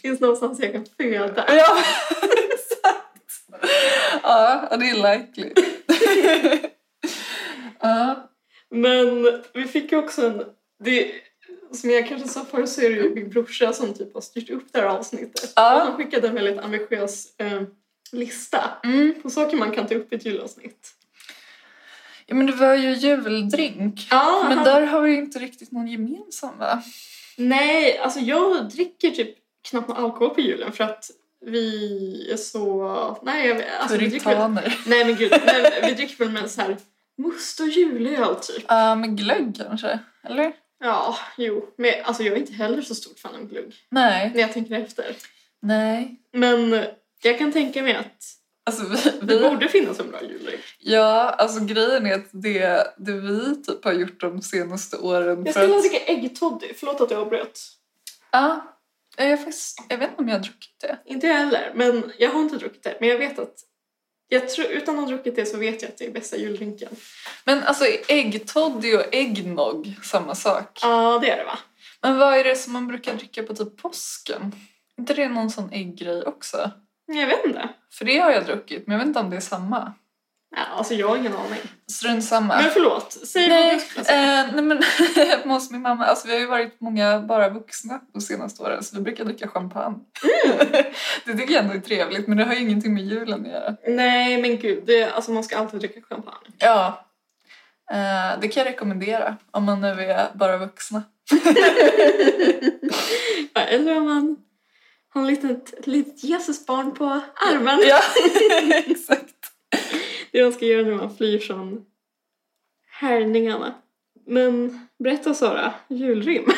Speaker 1: Finns någonstans jag kan föda.
Speaker 2: ja, exakt. Ja, det är likely. ja,
Speaker 1: Men vi fick ju också en... Det, som jag kanske sa förut så är det ju min brorsa som typ har styrt upp det här avsnittet.
Speaker 2: Ja.
Speaker 1: Och Han skickade en väldigt ambitiös eh, lista
Speaker 2: mm.
Speaker 1: på saker man kan ta upp i ett julavsnitt.
Speaker 2: ja, men det var ju juldrink.
Speaker 1: Ja,
Speaker 2: Men
Speaker 1: han-
Speaker 2: där har vi ju inte riktigt någon gemensam, va?
Speaker 1: Nej, alltså jag dricker typ knappt någon alkohol på julen för att vi är så... Nej, jag, alltså, vi dricker väl...
Speaker 2: Puritaner.
Speaker 1: Nej men gud, nej, men vi dricker väl med så här must och julöl typ.
Speaker 2: Ja, men glögg kanske? Eller?
Speaker 1: Ja, jo. Men alltså jag är inte heller så stort fan av glugg
Speaker 2: Nej.
Speaker 1: när jag tänker efter.
Speaker 2: Nej.
Speaker 1: Men Jag kan tänka mig att
Speaker 2: Alltså vi,
Speaker 1: det
Speaker 2: vi,
Speaker 1: borde finnas en bra jullek.
Speaker 2: ja, alltså grejen är att det, det vi typ har gjort de senaste åren...
Speaker 1: Jag
Speaker 2: för
Speaker 1: skulle
Speaker 2: att-
Speaker 1: dricka äggtoddy. Förlåt att jag avbröt.
Speaker 2: Ja, jag, är faktiskt, jag vet inte om jag har druckit det.
Speaker 1: Inte jag heller, men jag har inte druckit det. Men jag vet att jag tror, utan att ha druckit det så vet jag att det är bästa juldrinken.
Speaker 2: Men alltså är äggtoddy och äggnog samma sak?
Speaker 1: Ja, det är det va?
Speaker 2: Men vad är det som man brukar dricka på typ påsken? Är inte det någon sån ägggrej också?
Speaker 1: Jag vet inte.
Speaker 2: För det har jag druckit, men jag vet inte om det är samma.
Speaker 1: Ja, alltså jag har ingen aning.
Speaker 2: Strunt samma.
Speaker 1: Men förlåt, säg vad
Speaker 2: Nej,
Speaker 1: du skulle säga.
Speaker 2: eh, nej men <laughs> hemma hos min mamma, alltså vi har ju varit många bara vuxna de senaste åren så vi brukar dricka champagne. Mm. <laughs> det tycker jag ändå är trevligt men det har ju ingenting med julen att göra.
Speaker 1: Nej men gud, det, alltså man ska alltid dricka
Speaker 2: <laughs>
Speaker 1: champagne.
Speaker 2: Ja, eh, det kan jag rekommendera om man nu är bara vuxna.
Speaker 1: Ja, Eller om man har ett litet, ett litet Jesusbarn på armen.
Speaker 2: <laughs> Ja, <laughs> exakt.
Speaker 1: Det man ska göra när man flyr från härningarna. Men berätta Sara, julrim.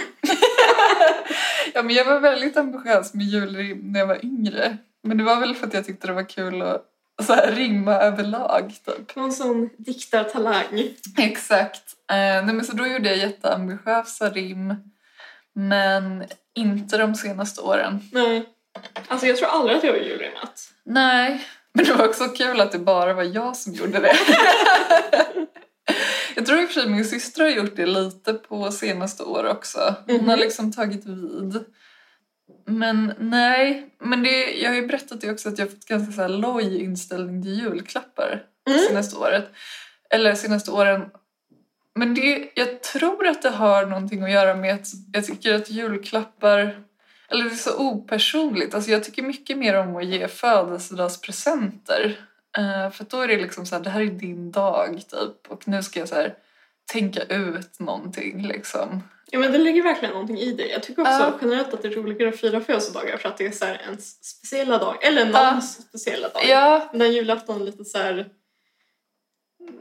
Speaker 2: Ja, men jag var väldigt ambitiös med julrim när jag var yngre. Men det var väl för att jag tyckte det var kul att så här, rimma överlag. Typ.
Speaker 1: Någon sån diktartalang.
Speaker 2: Exakt. Eh, nej, men så då gjorde jag jätteambitiösa rim. Men inte de senaste åren.
Speaker 1: Nej. Alltså jag tror aldrig att jag har julrimmat.
Speaker 2: Nej. Men det var också kul att det bara var jag som gjorde
Speaker 1: <laughs>
Speaker 2: det. jag tror i och för sig min syster har gjort det lite på senaste år också. Hon har
Speaker 1: Mhm.
Speaker 2: liksom tagit vid. Men nej, men det, jag har ju berättat det också att jag har fått ganska så här loj inställning till julklappar
Speaker 1: Mm.
Speaker 2: senaste året. Eller senaste åren. Men det, jag tror att det har någonting att göra med att jag tycker att julklappar eller det är så opersonligt. Alltså jag tycker mycket mer om att ge födelsedagspresenter. Eh, för att då är det liksom så här, det här är din dag typ. Och nu ska jag så här, tänka ut någonting liksom.
Speaker 1: Ja men det ligger verkligen någonting i det. Jag tycker också
Speaker 2: Ja.
Speaker 1: generellt att det är roligare att fira födelsedagar för att det är så här ens speciella dag. Eller någons speciella dag.
Speaker 2: Ja,
Speaker 1: Men den julafton är lite så här...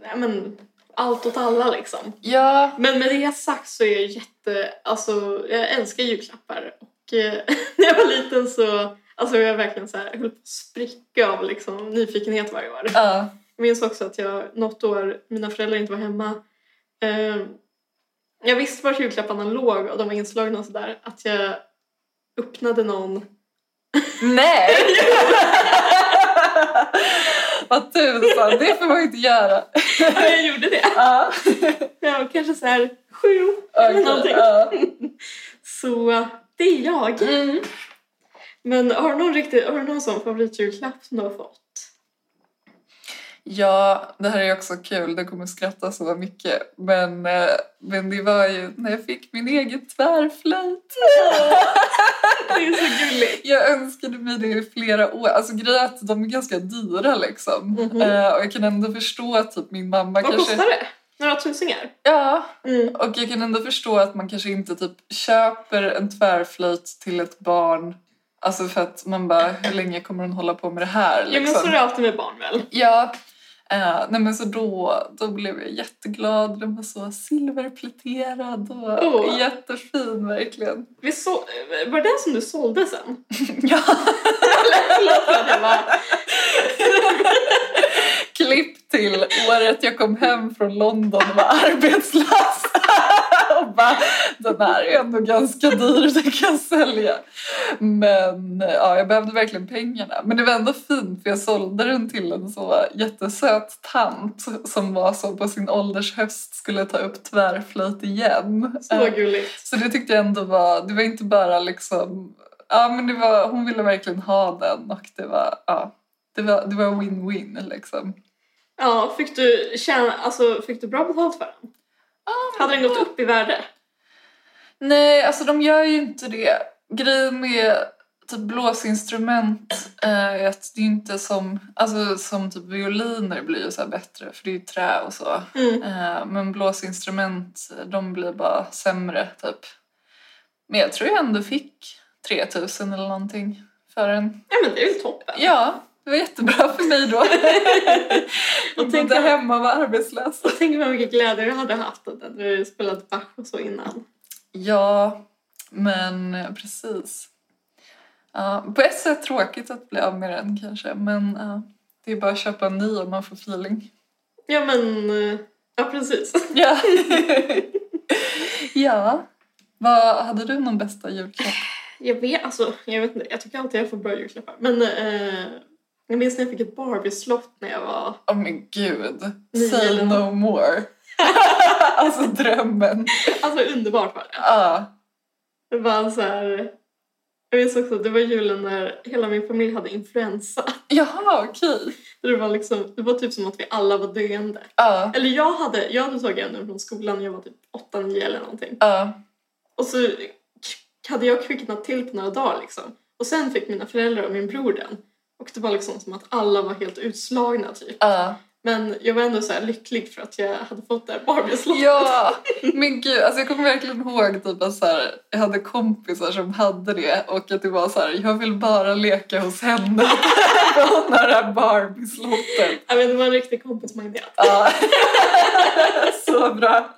Speaker 1: Nej men, allt åt alla liksom.
Speaker 2: ja.
Speaker 1: Men med det sagt så är jag jätte... Alltså, jag älskar julklappar. Och eh, <laughs> när jag var liten så... Alltså jag verkligen så här, höll på att spricka av liksom, nyfikenhet varje år.
Speaker 2: ja.
Speaker 1: Jag minns också att jag något år, mina föräldrar inte var hemma. Eh, jag visste vart julklapparna låg och de var inslagna och sådär. Att jag öppnade någon <laughs>
Speaker 2: Nej! <laughs> Vad tusan, det får man inte göra.
Speaker 1: jag gjorde det.
Speaker 2: Ja.
Speaker 1: Jag var kanske så här sju
Speaker 2: <laughs>
Speaker 1: eller
Speaker 2: Okej,
Speaker 1: någonting.
Speaker 2: ja.
Speaker 1: Så det är jag.
Speaker 2: Mm.
Speaker 1: Men har du någon, riktig, har du någon sån favoritjulklapp som du har fått?
Speaker 2: Ja, det här är också kul. Det kommer skratta så mycket. Men, eh, men det var ju när jag fick min egen tvärflöjt.
Speaker 1: Det är så gulligt.
Speaker 2: Jag önskade mig det i flera år. Alltså grejen är att de är ganska dyra liksom.
Speaker 1: Mhm.
Speaker 2: Eh, och jag kan ändå förstå att typ min mamma
Speaker 1: Vad
Speaker 2: kanske...
Speaker 1: kostar det? Några tusingar?
Speaker 2: Ja,
Speaker 1: Mm.
Speaker 2: och jag kan ändå förstå att man kanske inte typ köper en tvärflöjt till ett barn. Alltså för att man bara, hur länge kommer hon hålla på med det här? liksom.
Speaker 1: Ja, men så är det alltid med barn väl?
Speaker 2: Ja. Eh, nej men så då, då blev jag jätteglad. Den var så silverpläterad och
Speaker 1: Åh.
Speaker 2: jättefin verkligen.
Speaker 1: Vi så, var det den som du sålde <laughs> sen?
Speaker 2: Ja.
Speaker 1: Förlåt för att jag bara...
Speaker 2: Klipp till året jag kom hem från London och var arbetslös. <laughs> och bara, den här är ändå ganska dyr, den kan jag sälja. Men eh, ja, jag behövde verkligen pengarna. Men det var ändå fint för jag sålde den till en så jättesöt tant som var så på sin ålders höst skulle ta upp tvärflöjt igen.
Speaker 1: Så
Speaker 2: Eh,
Speaker 1: gulligt.
Speaker 2: så det tyckte jag ändå var, det var inte bara liksom, ja men det var, hon ville verkligen ha den och det var, ja, det var, det var win-win liksom.
Speaker 1: Ja, fick du, tjäna, alltså, fick du bra betalt för den? Hade den gått upp i värde?
Speaker 2: Nej, alltså de gör ju inte det. Grejen med typ blåsinstrument eh, är att det är inte som, alltså som typ violiner blir ju så här bättre för det är ju trä och så.
Speaker 1: Mm.
Speaker 2: Eh, Men blåsinstrument, de blir bara sämre typ. Men jag tror jag ändå fick 3000 eller någonting för den.
Speaker 1: Ja, men det är
Speaker 2: <laughs>
Speaker 1: väl toppen.
Speaker 2: Ja, det var jättebra för
Speaker 1: <laughs>
Speaker 2: mig då.
Speaker 1: Och
Speaker 2: Jag
Speaker 1: tänk,
Speaker 2: bodde hemma och var arbetslös.
Speaker 1: och tänk vad mycket glädje du hade haft när du spelat Bach och så innan.
Speaker 2: Ja, men precis. Ja, på ett sätt tråkigt att bli av med den kanske, men ja, det är bara att köpa en ny om man får feeling.
Speaker 1: Ja men, eh, ja precis.
Speaker 2: Ja. <laughs> ja. Vad, hade du någon bästa julklapp?
Speaker 1: Jag vet, alltså, jag vet inte, jag tycker alltid jag får bra julklappar. Men eh, jag minns när jag fick ett Barbie-slott när jag var...
Speaker 2: Åh men gud.
Speaker 1: Nio.
Speaker 2: Say no more. <laughs> alltså drömmen.
Speaker 1: Alltså underbart var det.
Speaker 2: Ja.
Speaker 1: Det var så här... Jag minns också att det var julen när hela min familj hade influensa.
Speaker 2: Jaha, okej.
Speaker 1: Det var, liksom, det var typ som att vi alla var döende.
Speaker 2: Ja.
Speaker 1: Eller jag hade, jag hade tagit en från skolan, jag var typ 8-9 eller någonting.
Speaker 2: Ja.
Speaker 1: Och så k- hade jag kvicknat till på några dagar liksom. Och sen fick mina föräldrar och min bror den. Och det var liksom som att alla var helt utslagna typ.
Speaker 2: Ja.
Speaker 1: Men jag var ändå så här lycklig för att jag hade fått det här Barbie-slottet.
Speaker 2: Ja, men gud. Alltså jag kommer verkligen ihåg typ att så här, jag hade kompisar som hade det och att det var så här, jag vill bara leka hos henne. <laughs> För hon har det här Barbie-slottet.
Speaker 1: Jag vet, det var en riktig kompismagnet.
Speaker 2: Ja. <laughs> Så bra.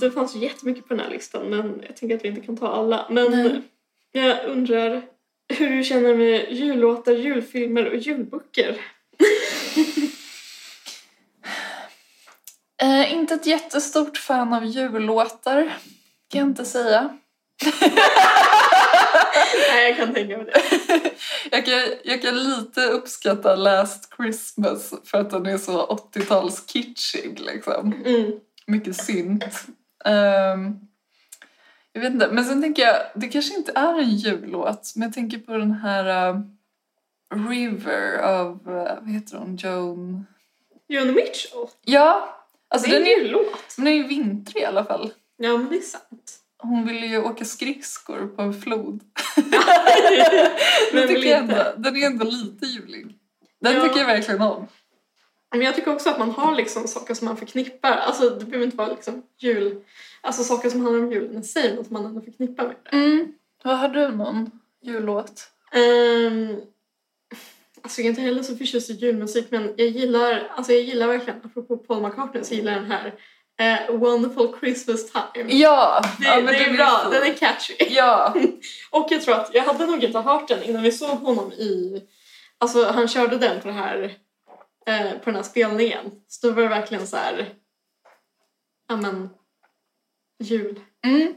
Speaker 1: Det fanns ju jättemycket på den här listan men jag tänker att vi inte kan ta alla. Men
Speaker 2: Nej.
Speaker 1: jag undrar hur du känner med jullåtar, julfilmer och julböcker?
Speaker 2: Eh, inte ett jättestort fan av jullåtar, kan jag inte säga.
Speaker 1: <laughs> Nej, jag kan tänka mig det.
Speaker 2: <laughs> jag, kan, jag kan lite uppskatta Last Christmas för att den är så 80-talskitschig liksom.
Speaker 1: Mm.
Speaker 2: mycket synt. Ehm, jag vet inte, men sen tänker jag, det kanske inte är en jullåt, men jag tänker på den här eh, River av, eh, vad heter hon, Joan?
Speaker 1: Joni Mitchell,
Speaker 2: Ja, alltså
Speaker 1: det är
Speaker 2: den
Speaker 1: en
Speaker 2: är,
Speaker 1: jullåt.
Speaker 2: den är ju vintrig i alla fall.
Speaker 1: Ja, men det
Speaker 2: <laughs>
Speaker 1: är sant.
Speaker 2: Hon ville ju åka skridskor på en flod.
Speaker 1: Vem
Speaker 2: Den,
Speaker 1: vill
Speaker 2: tycker jag
Speaker 1: inte?
Speaker 2: ändå, den är ändå lite julig. Den
Speaker 1: Ja.
Speaker 2: tycker jag verkligen om.
Speaker 1: Men jag tycker också att man har liksom saker som man förknippar. Alltså, det behöver inte vara liksom jul. Alltså saker som handlar om julen i sig, men som man ändå förknippar med det.
Speaker 2: Vad har du någon jullåt?
Speaker 1: Um, alltså jag är inte heller så förtjust i julmusik men jag gillar, alltså jag gillar verkligen, apropå Paul McCartney så gillar jag den här eh, Wonderful Christmas Time.
Speaker 2: Ja!
Speaker 1: Det,
Speaker 2: ja, men
Speaker 1: det är
Speaker 2: den
Speaker 1: bra,
Speaker 2: fin.
Speaker 1: den är catchy.
Speaker 2: Ja,
Speaker 1: Och jag tror att jag hade nog inte hört den innan vi såg honom i, alltså han körde den på, det här, eh, på den här spelningen. Så då var det verkligen så här, ja men, jul.
Speaker 2: Mm.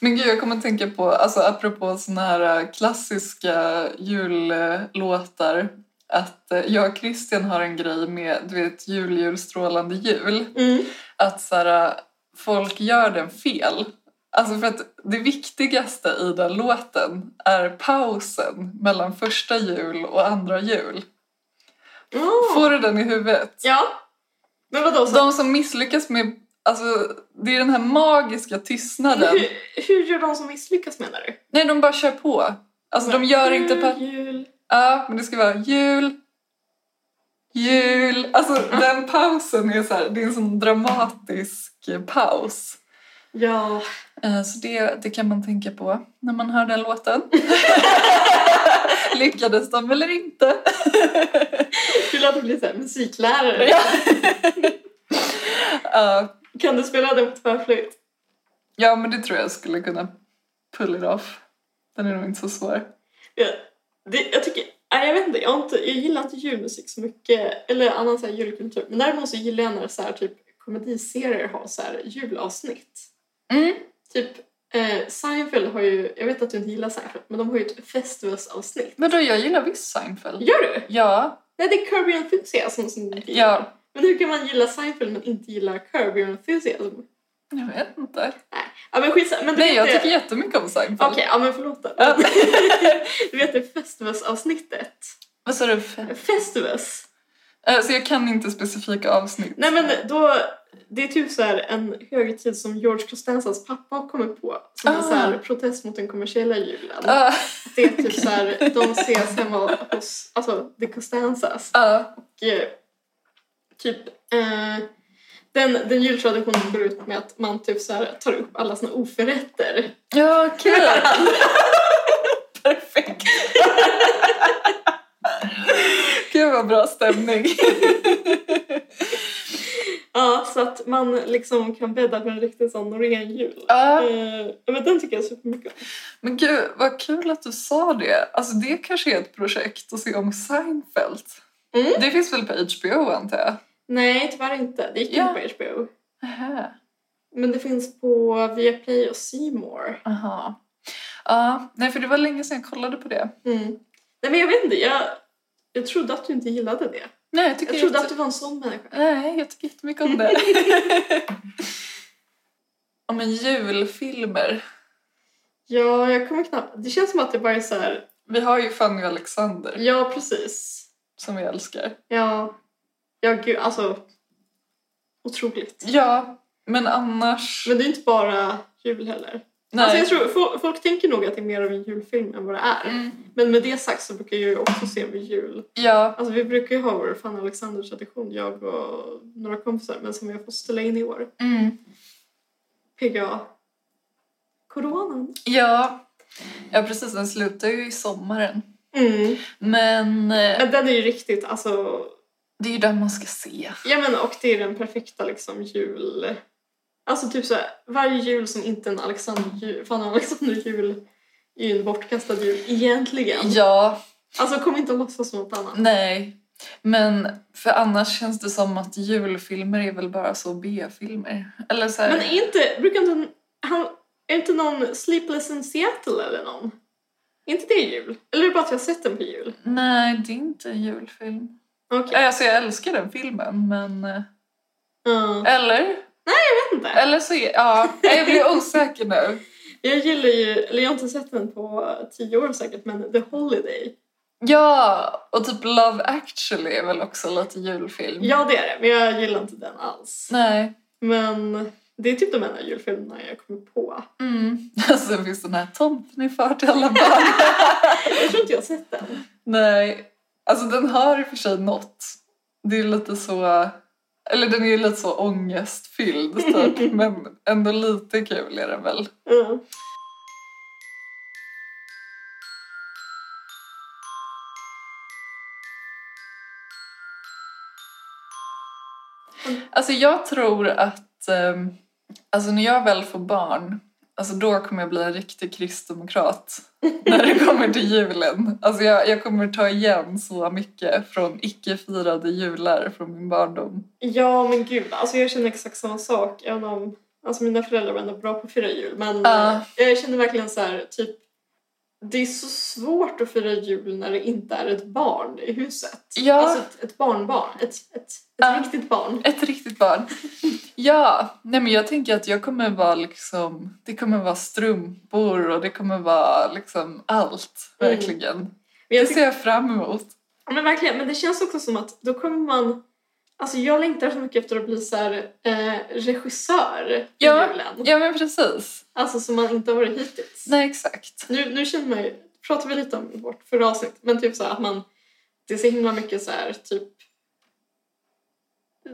Speaker 2: Men gud, jag kommer att tänka på, alltså apropå såna här eh, klassiska jullåtar, att eh, jag och Christian har en grej med, du vet, jul, jul, strålande jul,
Speaker 1: Mm.
Speaker 2: att så här, eh, folk gör den fel. Alltså för att det viktigaste i den låten är pausen mellan första jul och andra jul.
Speaker 1: Oh.
Speaker 2: Får du den i huvudet?
Speaker 1: Ja. Men vadå? Så,
Speaker 2: De som misslyckas med, alltså det är den här magiska tystnaden.
Speaker 1: hur, hur gör de som misslyckas menar du?
Speaker 2: Nej, de bara kör på. Alltså de gör inte...
Speaker 1: Jul,
Speaker 2: Pa-
Speaker 1: jul.
Speaker 2: ja, men det ska vara jul, jul. Alltså den pausen är så här, det är en sån dramatisk eh, paus.
Speaker 1: Ja.
Speaker 2: Eh, Så det, det kan man tänka på när man hör den låten. <laughs> Lyckades de eller inte?
Speaker 1: Kul att du blir så här musiklärare.
Speaker 2: Ja. Ja,
Speaker 1: Kan du spela den på tvärflöjt?
Speaker 2: ja, men det tror jag skulle kunna pull it off. Den är nog inte så svår.
Speaker 1: Ja. Det, jag tycker... Nej, jag vet inte. Jag, har inte, jag gillar inte julmusik så mycket. Eller annan så här julkultur. Men däremot så gillar jag när så här, typ, komediserier har så här, julavsnitt.
Speaker 2: Mm.
Speaker 1: Typ eh, Seinfeld har ju... Jag vet att du inte gillar Seinfeld. Men de har ju ett festivalsavsnitt.
Speaker 2: Men då, jag gillar visst Seinfeld.
Speaker 1: Gör du?
Speaker 2: Ja,
Speaker 1: Nej, det är Curb Your Enthusiasm som du inte gillar.
Speaker 2: ja,
Speaker 1: Men hur kan man gilla Seinfeld men inte gilla Curb Your Enthusiasm?
Speaker 2: jag vet inte.
Speaker 1: Ja, men skitsamma. Men du
Speaker 2: Nej,
Speaker 1: vet
Speaker 2: jag
Speaker 1: det-
Speaker 2: tycker jättemycket om Seinfeld.
Speaker 1: Okej, ja men förlåt då.
Speaker 2: Ja.
Speaker 1: <laughs> du vet det festivalsavsnittet?
Speaker 2: Vad sa du?
Speaker 1: Festivus?
Speaker 2: Eh, Så jag kan inte specifika avsnitt.
Speaker 1: Nej men då, det är typ så här en högtid som George Costanzas pappa har kommit på. Som en
Speaker 2: Ah.
Speaker 1: så här protest mot den kommersiella julen.
Speaker 2: Ja,
Speaker 1: Det är typ så här, de ses hemma hos, alltså the Costanzas.
Speaker 2: ja,
Speaker 1: Och eh, typ, eh, den, den jultraditionen går ut med att man typ så här tar upp alla sina oförrätter.
Speaker 2: ja, <laughs> okej. Perfekt. <laughs> Gud vad bra stämning.
Speaker 1: Ja, så att man liksom kan bädda för en riktig sån Norén-jul.
Speaker 2: Ja,
Speaker 1: Eh, men den tycker jag supermycket om.
Speaker 2: Äh, men gud vad kul att du sa det. Alltså det kanske är ett projekt att se om Seinfeld.
Speaker 1: Mm.
Speaker 2: Det finns väl på HBO antar jag?
Speaker 1: Nej, tyvärr inte. Det gick
Speaker 2: Ja.
Speaker 1: inte på HBO.
Speaker 2: Aha.
Speaker 1: Men det finns på Viaplay och C More.
Speaker 2: Aha. Ja, nej för det var länge sedan jag kollade på det.
Speaker 1: Mm. Nej, men jag vet inte. Jag, jag trodde att du inte gillade det.
Speaker 2: Nej, jag tycker
Speaker 1: Jag trodde
Speaker 2: jätte-
Speaker 1: att du var en sån människa.
Speaker 2: Nej, jag tycker jättemycket om det. <laughs> Om en julfilmer.
Speaker 1: Ja, jag kommer knappt... Det känns som att det bara är så här...
Speaker 2: Vi har ju Fanny och Alexander
Speaker 1: Ja, precis.
Speaker 2: som vi älskar.
Speaker 1: Ja. Ja, gud. Alltså... Otroligt.
Speaker 2: Ja, men annars...
Speaker 1: Men det är inte bara jul heller.
Speaker 2: nej.
Speaker 1: Alltså, jag tror, fo- folk tänker nog att det är mer av en julfilm än vad det är.
Speaker 2: mm,
Speaker 1: Men med det sagt så brukar jag ju också se vid jul.
Speaker 2: ja,
Speaker 1: Alltså vi brukar ju ha vår fan Alexander-tradition, jag och några kompisar, men som jag får ställa in i år.
Speaker 2: mm,
Speaker 1: PGA. Coronan.
Speaker 2: ja. Ja, precis. Den slutar ju i sommaren.
Speaker 1: Mm.
Speaker 2: Men eh,
Speaker 1: Men den är ju riktigt, alltså...
Speaker 2: det är ju den man ska se.
Speaker 1: Ja men och det är den perfekta liksom jul... Alltså typ såhär, varje jul som inte är en Alexander-jul, fan Alexander-jul är ju en bortkastad jul egentligen.
Speaker 2: Ja,
Speaker 1: Alltså kom inte och låtsas som något annat.
Speaker 2: nej. Men för annars känns det som att julfilmer är väl bara så B-filmer. Eller så här,
Speaker 1: Men är inte, brukar inte, han, är inte någon Sleepless in Seattle eller någon? Är inte det jul? Eller är det bara att jag har sett den på jul?
Speaker 2: Nej, det är inte en julfilm.
Speaker 1: Okej.
Speaker 2: Nej, Alltså jag älskar den filmen men... eh,
Speaker 1: Ja,
Speaker 2: Eller?
Speaker 1: jag vet inte.
Speaker 2: Eller så är... Ja, nej, jag blir osäker nu.
Speaker 1: Jag gillar ju, eller jag har inte sett den på tio år säkert, men The Holiday.
Speaker 2: Ja, och typ Love actually är väl också lite julfilm?
Speaker 1: Ja det är det, men jag gillar inte den alls.
Speaker 2: Nej.
Speaker 1: Men det är typ de enda julfilmerna jag kommer på.
Speaker 2: Mm. Sen finns den här Tomten är far till alla barn.
Speaker 1: Jag tror inte jag har sett den.
Speaker 2: nej. Alltså den har i och för sig något. Det är lite så... Eller den är ju lite så ångestfylld typ. men ändå lite kul är den väl.
Speaker 1: Mm.
Speaker 2: Alltså jag tror att ehm, alltså när jag väl får barn, alltså då kommer jag bli en riktig kristdemokrat när det kommer till julen. Alltså jag, jag kommer ta igen så mycket från icke firade jular från min barndom.
Speaker 1: Ja men gud, alltså jag känner exakt samma sak. Även om, alltså mina föräldrar var ändå bra på att fira jul men
Speaker 2: Ja.
Speaker 1: eh, jag känner verkligen så här, typ det är så svårt att fira jul när det inte är ett barn i huset.
Speaker 2: Ja.
Speaker 1: Alltså ett, ett barnbarn, ett, ett, ett
Speaker 2: Ja.
Speaker 1: riktigt barn.
Speaker 2: Ett riktigt barn. Ja, nej men jag tänker att jag kommer vara liksom, det kommer vara strumpor och det kommer vara liksom allt,
Speaker 1: Mm.
Speaker 2: verkligen.
Speaker 1: Men,
Speaker 2: Det
Speaker 1: jag tycker,
Speaker 2: ser jag fram emot.
Speaker 1: men verkligen, men det känns också som att då kommer man Alltså jag längtar så mycket efter att bli så här, eh, regissör
Speaker 2: Ja.
Speaker 1: i julen.
Speaker 2: Ja men precis.
Speaker 1: Alltså som man inte har varit hittills.
Speaker 2: Nej exakt.
Speaker 1: Nu, nu känner man ju, pratar vi lite om vårt förra avsnitt, men typ så här att man, det är så himla mycket så här typ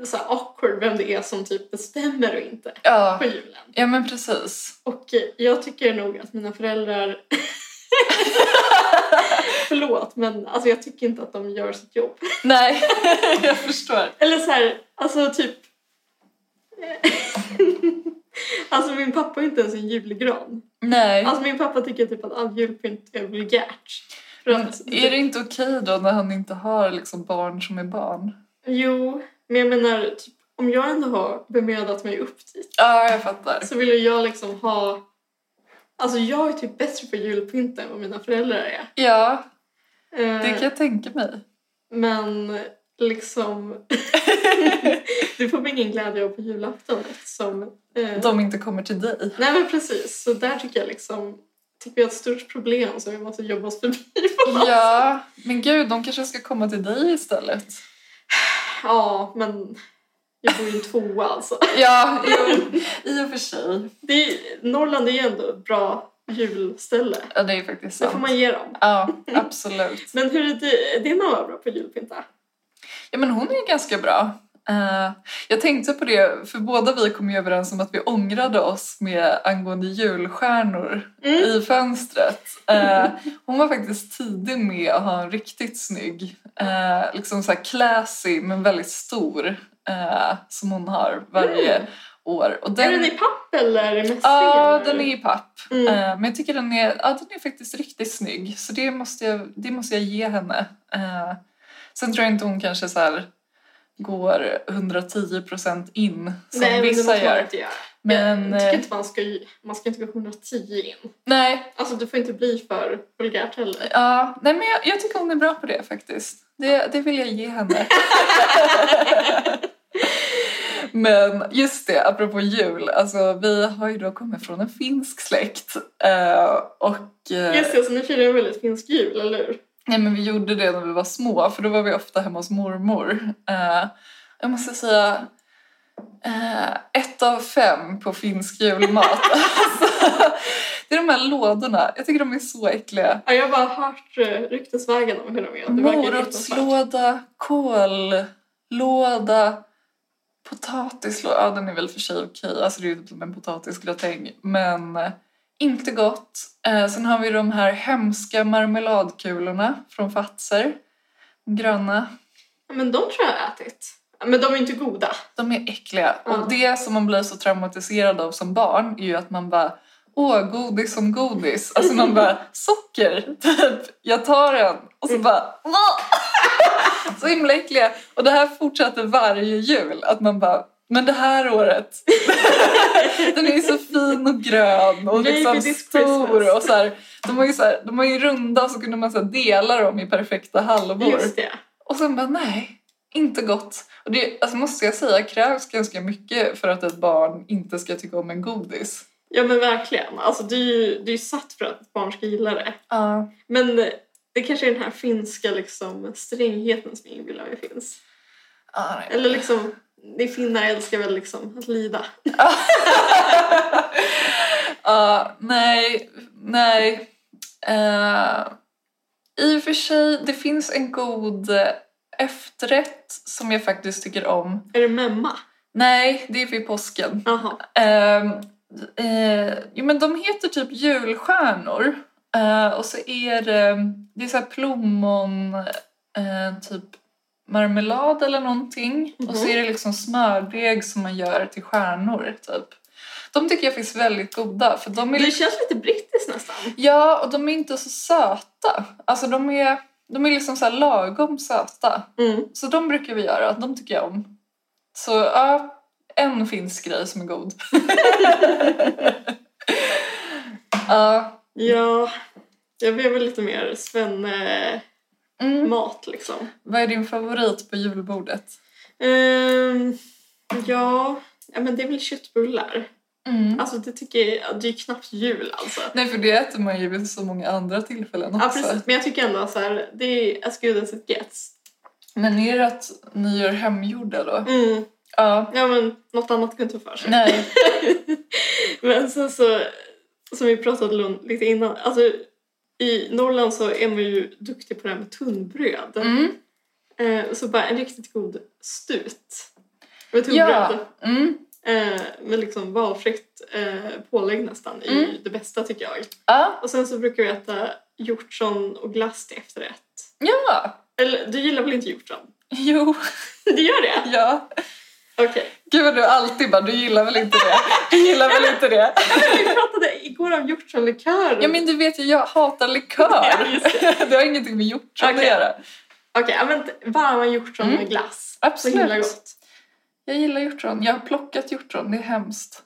Speaker 1: så här awkward vem det är som typ bestämmer och inte
Speaker 2: Ja,
Speaker 1: på julen.
Speaker 2: ja men precis.
Speaker 1: Och eh, jag tycker nog att mina föräldrar <laughs> Förlåt, men alltså jag tycker inte att de gör sitt jobb.
Speaker 2: Nej, <laughs> jag förstår.
Speaker 1: Eller så här, alltså typ... <laughs> alltså min pappa är inte ens en julgran.
Speaker 2: Nej.
Speaker 1: Alltså min pappa tycker typ att all julpynt är vulgärt. För
Speaker 2: Men
Speaker 1: att
Speaker 2: är det inte okej då när han inte har liksom barn som är barn?
Speaker 1: Jo, men jag menar, typ, om jag ändå har bemödat mig upp dit
Speaker 2: Ja, jag fattar.
Speaker 1: så vill ju jag liksom ha... Alltså jag är typ bättre på julpynt än vad mina föräldrar är.
Speaker 2: Ja,
Speaker 1: Eh,
Speaker 2: det kan jag tänka mig.
Speaker 1: Men liksom... <laughs> du får väl ingen glädje av på julafton eftersom... Eh,
Speaker 2: De inte kommer till <laughs> dig.
Speaker 1: Nej men precis, så där tycker jag liksom... Tycker vi har ett stort problem som vi måste jobba oss förbi.
Speaker 2: Ja, men gud, de kanske ska komma till dig istället.
Speaker 1: ja, men... Jag bor ju i en tvåa alltså.
Speaker 2: Ja, jo, <laughs> i och för sig.
Speaker 1: Det är, Norrland är ju ändå ett bra julställe.
Speaker 2: Ja, det är faktiskt
Speaker 1: Det får
Speaker 2: sant.
Speaker 1: man ge dem.
Speaker 2: Ja, absolut.
Speaker 1: Men hur är det, din mamma bra på julpynta?
Speaker 2: Ja, men hon är ju ganska bra. Eh, jag tänkte på det, för båda vi kom ju överens om att vi ångrade oss med angående julstjärnor
Speaker 1: Mm.
Speaker 2: i fönstret. Eh, hon var faktiskt tidig med att ha en riktigt snygg, eh, liksom så här classy men väldigt stor eh, som hon har varje
Speaker 1: Mm.
Speaker 2: år. Och
Speaker 1: Är den i papp eller mässing?
Speaker 2: Ja,
Speaker 1: eller?
Speaker 2: den är i papp.
Speaker 1: Mm.
Speaker 2: Eh, Men jag tycker den är, ja, den är faktiskt riktigt snygg. Så det måste jag, det måste jag ge henne. Eh, Sen tror jag inte hon kanske så här går 110% in som
Speaker 1: Nej, men det måste
Speaker 2: vissa
Speaker 1: man
Speaker 2: gör.
Speaker 1: inte göra.
Speaker 2: Men
Speaker 1: jag tycker
Speaker 2: eh,
Speaker 1: inte man ska, man ska inte gå 110 in.
Speaker 2: nej,
Speaker 1: Alltså du får inte bli för vulgärt heller.
Speaker 2: ja, nej men jag, jag tycker hon är bra på det faktiskt. Det, det vill jag ge
Speaker 1: <laughs>
Speaker 2: henne. Men just det, apropå jul. Alltså, vi har ju då kommit från en finsk släkt. eh, Och, eh,
Speaker 1: Just det, så ni firar ju väldigt finsk jul, eller hur?
Speaker 2: Nej, men vi gjorde det när vi var små, för då var vi ofta hemma hos mormor. Eh, jag måste säga, eh, ett av fem på finsk julmat. <laughs> alltså, det är de här lådorna, jag tycker de är så äckliga.
Speaker 1: Ja, jag har bara hört eh, ryktesvägen om hur de är. Det verkar ju fruktansvärt.
Speaker 2: Morotslåda, kållåda, potatislåda. Ja, den är väl för sig okej, alltså det är ju typ som en potatisgratäng. Men eh, inte gott. Eh, sen har vi de här hemska marmeladkulorna från Fatser. Gröna.
Speaker 1: Ja, Men de tror jag har ätit. Ja, Men de är inte goda.
Speaker 2: De är äckliga.
Speaker 1: Ja.
Speaker 2: Och det som man blir så traumatiserad av som barn är ju att man bara Åh, godis som godis. Alltså man bara, socker, typ. Jag tar en. Och så
Speaker 1: Mm.
Speaker 2: bara, "Åh!" <laughs> Så himla äckliga. Och det här fortsätter varje jul. Att man bara, men det här året. Den är ju så fin och grön och
Speaker 1: Maybe
Speaker 2: liksom
Speaker 1: this
Speaker 2: stor.
Speaker 1: Christmas.
Speaker 2: Och så här, de, var ju så här, de var ju runda och så kunde man så här dela dem i perfekta halvor.
Speaker 1: Just det.
Speaker 2: Och sen bara nej, inte gott. Och det alltså, måste jag säga krävs ganska mycket för att ett barn inte ska tycka om en godis.
Speaker 1: Ja men verkligen. Alltså det är ju, det är ju satt för att barn ska gilla det.
Speaker 2: Ja.
Speaker 1: Men eh, det kanske är den här finska liksom, strängheten som jag inbillar mig finns. Eller liksom, ni finnar älskar väl liksom att lida.
Speaker 2: <laughs> Ja, nej, nej. Eh, I och för sig, det finns en god eh, efterrätt som jag faktiskt tycker om.
Speaker 1: Är det memma?
Speaker 2: Nej, det är vid påsken.
Speaker 1: Jaha.
Speaker 2: Ehm, eh, jo, men de heter typ julstjärnor. Eh, och så är det, det är så här plommon, eh, typ marmelad eller någonting. Och så
Speaker 1: Mhm.
Speaker 2: är det liksom smördeg som man gör till stjärnor, typ. De tycker jag finns väldigt goda. För de är
Speaker 1: Det
Speaker 2: liksom-
Speaker 1: känns lite brittiskt nästan.
Speaker 2: Ja, och de är inte så söta. Alltså de är, de är liksom så här lagom söta.
Speaker 1: Mm.
Speaker 2: Så de brukar vi göra, de tycker jag om. Så ja, en finsk grej som är god. <laughs> Ja.
Speaker 1: Ja, jag blev väl lite mer svenne-mat
Speaker 2: mm.
Speaker 1: liksom.
Speaker 2: Vad är din favorit på julbordet?
Speaker 1: Ehm, ja, ja, men det är väl köttbullar. Alltså det tycker jag, ja, det är ju knappt jul alltså.
Speaker 2: Mm. Nej, för det äter man ju vid så många andra tillfällen
Speaker 1: Ja,
Speaker 2: också.
Speaker 1: precis. Men jag tycker ändå så här, det är as good as it gets.
Speaker 2: Men är det att ni gör hemgjorda då?
Speaker 1: Mm.
Speaker 2: Ja.
Speaker 1: Ja, men något annat kunde inte ta för sig.
Speaker 2: Nej.
Speaker 1: <laughs> Men sen så, som vi pratade om lite innan, alltså i Norrland så är man ju duktig på det här med tunnbröd.
Speaker 2: Mm.
Speaker 1: Eh, så bara en riktigt god stut med tunnbröd.
Speaker 2: Ja. Mm.
Speaker 1: Eh, med liksom valfritt eh, pålägg nästan, är ju
Speaker 2: Mm.
Speaker 1: det bästa tycker jag.
Speaker 2: Ja.
Speaker 1: Och sen så brukar vi äta hjortron och glass till efterrätt.
Speaker 2: Ja.
Speaker 1: Eller du gillar väl inte hjortron?
Speaker 2: Jo.
Speaker 1: Du gör det?
Speaker 2: Ja.
Speaker 1: Okej.
Speaker 2: <laughs> Gud vad du alltid bara, du gillar väl inte det? Du gillar väl inte det?
Speaker 1: Vi pratade igår om hjortronlikör.
Speaker 2: Ja men du vet ju, jag hatar
Speaker 1: Ja,
Speaker 2: likör.
Speaker 1: just det.
Speaker 2: <laughs> Det har ingenting med hjortron att
Speaker 1: Okej.
Speaker 2: göra.
Speaker 1: Okej, ja, men varma hjortron
Speaker 2: Mm.
Speaker 1: med glass. Så himla
Speaker 2: Absolut.
Speaker 1: gott.
Speaker 2: Jag gillar hjortron. Jag har plockat hjortron, det är hemskt.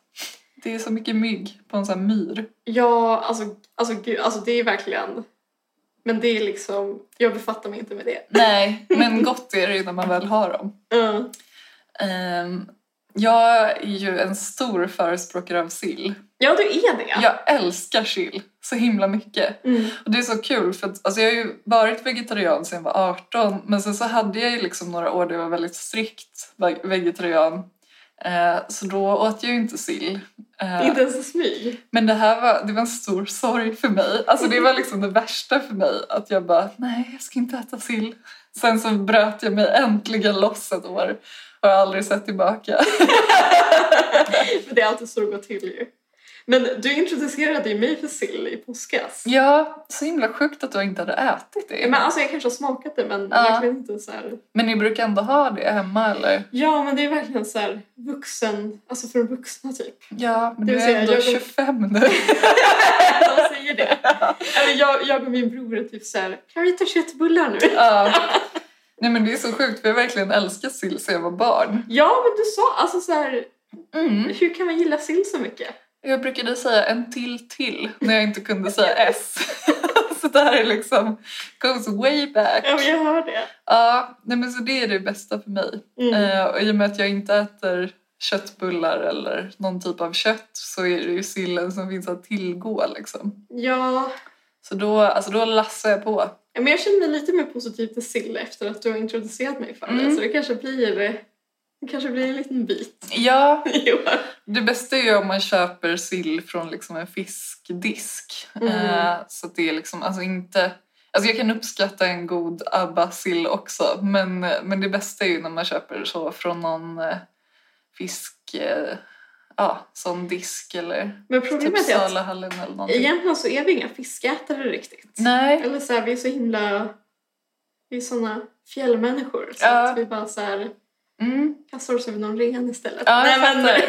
Speaker 2: Det är så mycket mygg på en sån här myr.
Speaker 1: Ja, alltså, alltså, gud, alltså det är verkligen... Men det är liksom... Jag befattar mig inte med det.
Speaker 2: Nej, <laughs> men gott är det ju när man väl har dem.
Speaker 1: Mm.
Speaker 2: Ehm, jag är ju en stor förespråkare av sill.
Speaker 1: Ja, du är det.
Speaker 2: Jag älskar sill så himla mycket.
Speaker 1: Mm.
Speaker 2: Och det är så kul för att, alltså jag har ju varit vegetarian sedan jag var 18 men sen så hade jag ju liksom några år där jag var väldigt strikt ve- vegetarian. Eh, så då åt jag ju inte sill. Eh,
Speaker 1: Inte ens i
Speaker 2: <laughs>
Speaker 1: smyg.
Speaker 2: men det här var, det var en stor sorg för mig. Alltså det var liksom det värsta för mig att jag bara nej jag ska inte äta sill. Sen så bröt jag mig äntligen loss ett år och har aldrig sett tillbaka.
Speaker 1: Men det är alltid så det går till ju. Men du introducerade ju mig för sill i påskas.
Speaker 2: Ja, så himla sjukt att du inte hade ätit det.
Speaker 1: Men alltså jag kanske har smakat det men
Speaker 2: Ja.
Speaker 1: verkligen inte så här.
Speaker 2: Men ni brukar ändå ha det hemma eller?
Speaker 1: Ja men det är verkligen så här vuxen, alltså för
Speaker 2: <laughs>
Speaker 1: vuxna typ.
Speaker 2: Ja, men
Speaker 1: Det
Speaker 2: du
Speaker 1: vill
Speaker 2: är
Speaker 1: säga,
Speaker 2: ändå
Speaker 1: jag-
Speaker 2: 25 nu.
Speaker 1: De säger det. Eller jag, jag och min bror är typ så här, kan vi ta köttbullar nu?
Speaker 2: ja. <laughs> Nej men det är så sjukt för jag verkligen älskar sill sedan jag var barn.
Speaker 1: Ja men du sa alltså så här,
Speaker 2: Mm.
Speaker 1: hur kan man gilla sill så mycket?
Speaker 2: Jag brukade säga en till till när jag inte kunde säga S. <laughs> så det här är liksom goes way back.
Speaker 1: Ja men jag hör det.
Speaker 2: Ja, nej men så det är det bästa för mig.
Speaker 1: Mm.
Speaker 2: Eh, och i och med att jag inte äter köttbullar eller någon typ av kött så är det ju sillen som finns att tillgå liksom.
Speaker 1: Ja,
Speaker 2: Så då, alltså då lassar jag på.
Speaker 1: men jag känner mig lite mer positiv till sill efter att du har introducerat mig för det.
Speaker 2: Mm.
Speaker 1: Så det kanske blir, det kanske blir en liten bit. <laughs>
Speaker 2: Ja,
Speaker 1: Jo.
Speaker 2: det bästa är ju om man köper sill från liksom en fiskdisk.
Speaker 1: Mm.
Speaker 2: Eh, så att det är liksom, alltså inte... Alltså jag kan uppskatta en god abba-sill också men, men det bästa är ju när man köper så från någon eh, fisk... Eh, ja, sån disk eller
Speaker 1: Men
Speaker 2: typ
Speaker 1: problemet är att
Speaker 2: Salahallen eller någonting.
Speaker 1: egentligen så är vi inga fiskätare riktigt.
Speaker 2: Nej.
Speaker 1: Eller så här, vi är så himla... Vi är såna fjällmänniskor. Så
Speaker 2: Ja.
Speaker 1: att vi bara så här,
Speaker 2: Mm.
Speaker 1: kastar oss över någon ren istället.
Speaker 2: Ja, jag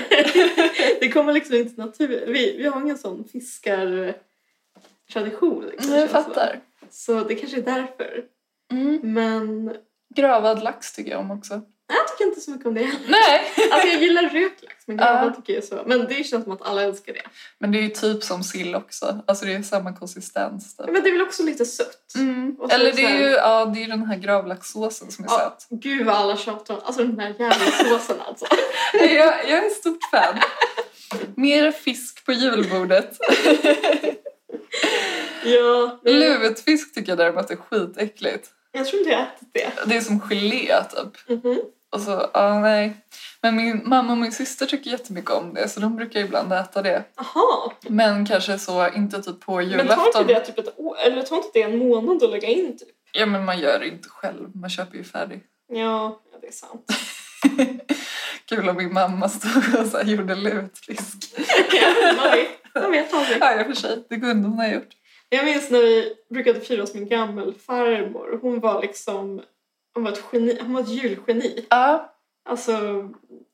Speaker 1: <laughs> det kommer liksom inte naturligt. Vi, vi har ingen sån fiskartradition.
Speaker 2: Jag
Speaker 1: Liksom, känns det
Speaker 2: fattar.
Speaker 1: som. Så det kanske är därför.
Speaker 2: Mm.
Speaker 1: Men
Speaker 2: Gravad lax tycker jag om också.
Speaker 1: nej, jag tycker inte så mycket om det.
Speaker 2: Nej!
Speaker 1: Alltså jag gillar rökt lax, men
Speaker 2: Ja.
Speaker 1: gravad tycker jag är så. Men det känns som att alla älskar det.
Speaker 2: Men det är ju typ som sill också. Alltså det är samma konsistens. Typ.
Speaker 1: Men det är väl också lite sött?
Speaker 2: Mm.
Speaker 1: Och så
Speaker 2: Eller
Speaker 1: så
Speaker 2: det är
Speaker 1: här-
Speaker 2: ju ja, det är ju den här gravlaxsåsen som är
Speaker 1: Ja.
Speaker 2: söt.
Speaker 1: Gud vad alla tjatar om alltså den där jävla såsen alltså.
Speaker 2: Jag, jag är ett stort fan. Mer fisk på julbordet.
Speaker 1: Ja.
Speaker 2: Lutfisk tycker jag däremot är skitäckligt.
Speaker 1: Jag tror inte jag har ätit det.
Speaker 2: Det är som gelé typ.
Speaker 1: Mhm.
Speaker 2: Och så, ja nej. Men min mamma och min syster tycker jättemycket om det så de brukar ibland äta det.
Speaker 1: Aha.
Speaker 2: Men kanske så, inte typ på
Speaker 1: Men tar inte
Speaker 2: julafton.
Speaker 1: det typ ett år, eller tar inte det en månad att lägga in typ?
Speaker 2: Ja men man gör det inte själv, man köper ju färdig.
Speaker 1: Ja, ja det är sant. <laughs>
Speaker 2: Kul om min mamma stod och så här gjorde lutfisk.
Speaker 1: Man vet, man vet aldrig.
Speaker 2: Ja, i och för sig. Det kunde hon ha gjort.
Speaker 1: Jag minns när vi brukade fira hos min gammelfarmor. Hon var liksom, hon var ett geni, hon var ett julgeni.
Speaker 2: Ja,
Speaker 1: Alltså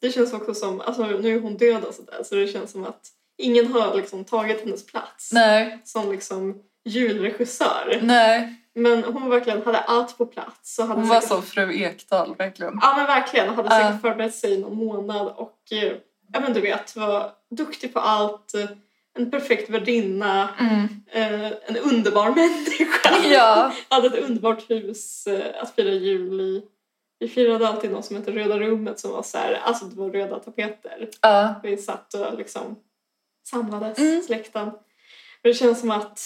Speaker 1: det känns också som, alltså nu är hon död och sådär så det känns som att ingen har liksom tagit hennes plats
Speaker 2: nej,
Speaker 1: som liksom julregissör.
Speaker 2: nej.
Speaker 1: Men hon verkligen hade allt på plats. Och hade
Speaker 2: Hon var
Speaker 1: säkert-
Speaker 2: som fru Ekdahl, verkligen.
Speaker 1: Ja men verkligen, hade säkert
Speaker 2: Ja.
Speaker 1: förberett sig i någon månad och eh, ja men du vet, var duktig på allt, eh, en perfekt värdinna,
Speaker 2: Mm.
Speaker 1: eh, en underbar <laughs> människa.
Speaker 2: Ja,
Speaker 1: Hade ett underbart hus eh, att fira jul i. Vi firade alltid något som hette Röda rummet som var så här, alltså det var röda tapeter.
Speaker 2: ja.
Speaker 1: Vi satt och liksom samlades,
Speaker 2: Mm.
Speaker 1: släkten. Men det känns som att,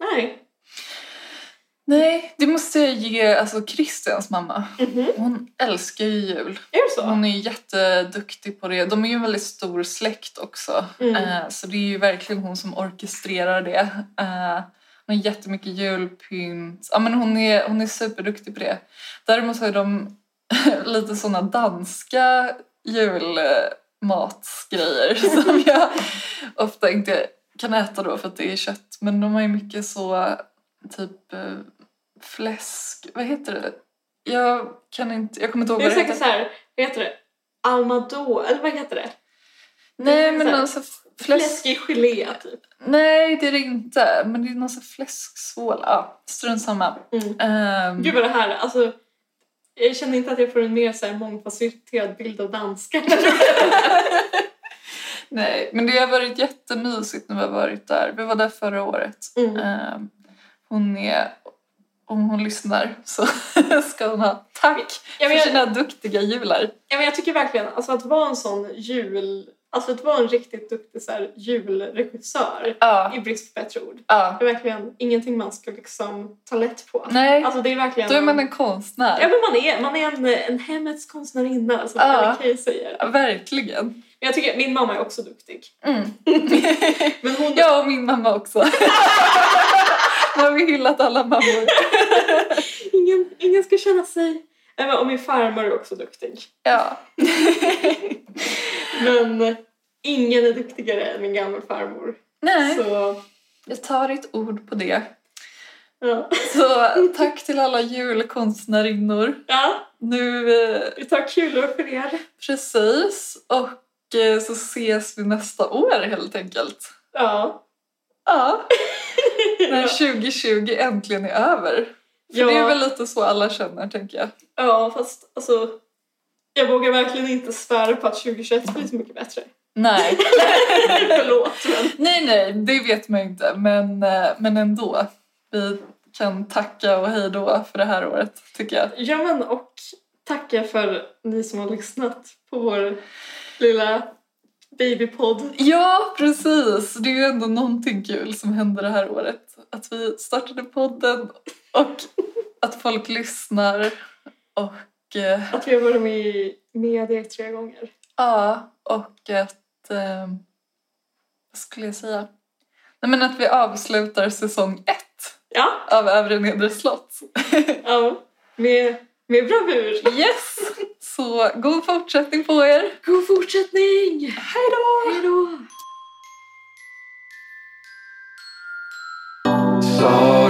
Speaker 1: nej.
Speaker 2: Nej, det måste jag ge alltså Christians mamma.
Speaker 1: Mhm.
Speaker 2: Hon älskar ju jul.
Speaker 1: Är det så?
Speaker 2: Hon är jätteduktig på det. De är ju en väldigt stor släkt också.
Speaker 1: Mm.
Speaker 2: Eh, Så det är ju verkligen hon som orkestrerar det. Eh, Hon har jättemycket julpynt. Ja, men hon, är, hon är superduktig på det. Däremot har ju de <laughs> lite såna danska julmatsgrejer <laughs> som jag ofta inte kan äta då för att det är kött. Men de har ju mycket så typ eh, fläsk... Vad heter det? Jag kan inte... Jag kommer inte ihåg
Speaker 1: Det är
Speaker 2: vad det
Speaker 1: säkert
Speaker 2: heter.
Speaker 1: så här, vad heter det? Almado, eller vad heter det?
Speaker 2: Nej, men
Speaker 1: så här-
Speaker 2: någon så fläsk...
Speaker 1: Fläskig gelé typ.
Speaker 2: Nej, det är det inte. Men det är någon sån fläsksvål. Ja, strunt samma.
Speaker 1: Mm.
Speaker 2: Ehm,
Speaker 1: Gud vad det här, alltså jag känner inte att jag får en mer så här mångfacetterad bild
Speaker 2: <laughs>
Speaker 1: av danskar.
Speaker 2: Mm. nej, men det har varit jättemysigt när vi har varit där. Vi var där förra året.
Speaker 1: Mm.
Speaker 2: Ehm, hon är... Om hon lyssnar så <laughs> ska hon ha tack
Speaker 1: Ja, men
Speaker 2: för
Speaker 1: jag,
Speaker 2: sina duktiga jular.
Speaker 1: ja, men jag tycker verkligen alltså, att vara en sån jul, alltså att vara en riktigt duktig så här, julregissör
Speaker 2: Ja,
Speaker 1: i brist på bättre ord.
Speaker 2: ja.
Speaker 1: Det är verkligen ingenting man ska liksom ta lätt på.
Speaker 2: Nej,
Speaker 1: Alltså det är verkligen...
Speaker 2: då är man en konstnär.
Speaker 1: Ja men man är, man är en, en hemmets konstnärinna alltså, som
Speaker 2: Ja.
Speaker 1: Ellen Key säger.
Speaker 2: Ja, Verkligen.
Speaker 1: Men jag tycker min mamma är också duktig.
Speaker 2: Mm.
Speaker 1: Men hon
Speaker 2: <laughs> Jag och min mamma
Speaker 1: <laughs>
Speaker 2: också. Nu har vi hyllat alla mammor.
Speaker 1: <laughs> Ingen, ingen ska känna sig... <laughs> Nej, men- Och min farmor är också duktig.
Speaker 2: Ja.
Speaker 1: Men Ingen är duktigare än min gamla farmor.
Speaker 2: Nej,
Speaker 1: Så,
Speaker 2: jag tar ditt ord på det.
Speaker 1: ja.
Speaker 2: Så tack till alla julkonstnärinnor.
Speaker 1: ja,
Speaker 2: Nu, eh,
Speaker 1: vi tar kulor för er.
Speaker 2: precis. Och eh, så ses vi nästa år helt enkelt.
Speaker 1: Ja.
Speaker 2: Ja, när
Speaker 1: Ja.
Speaker 2: 2020 äntligen är över. För
Speaker 1: Ja.
Speaker 2: det är väl lite så alla känner, tänker jag.
Speaker 1: ja, fast alltså... Jag vågar verkligen inte svära på att 2021 blir så mycket bättre.
Speaker 2: Nej.
Speaker 1: Förlåt, men...
Speaker 2: <laughs> nej, nej, det vet man ju inte. Men, eh, men ändå. Vi kan tacka och hej då för det här året, tycker jag.
Speaker 1: Ja, men och tacka för ni som har lyssnat på vår lilla babypodd.
Speaker 2: Ja, precis. Det är ju ändå någonting kul som hände det här året. Att vi startade podden och att folk lyssnar. Och eh,
Speaker 1: Att vi har varit med i media tre gånger.
Speaker 2: ja, och att... Eh, vad skulle jag säga? Nej, men att vi avslutar säsong ett
Speaker 1: Ja,
Speaker 2: av Övre Nedre Slott.
Speaker 1: ja. Med, med bravur.
Speaker 2: Yes! Så god fortsättning på er.
Speaker 1: God fortsättning! Hej då! Hej då!
Speaker 3: Sorry.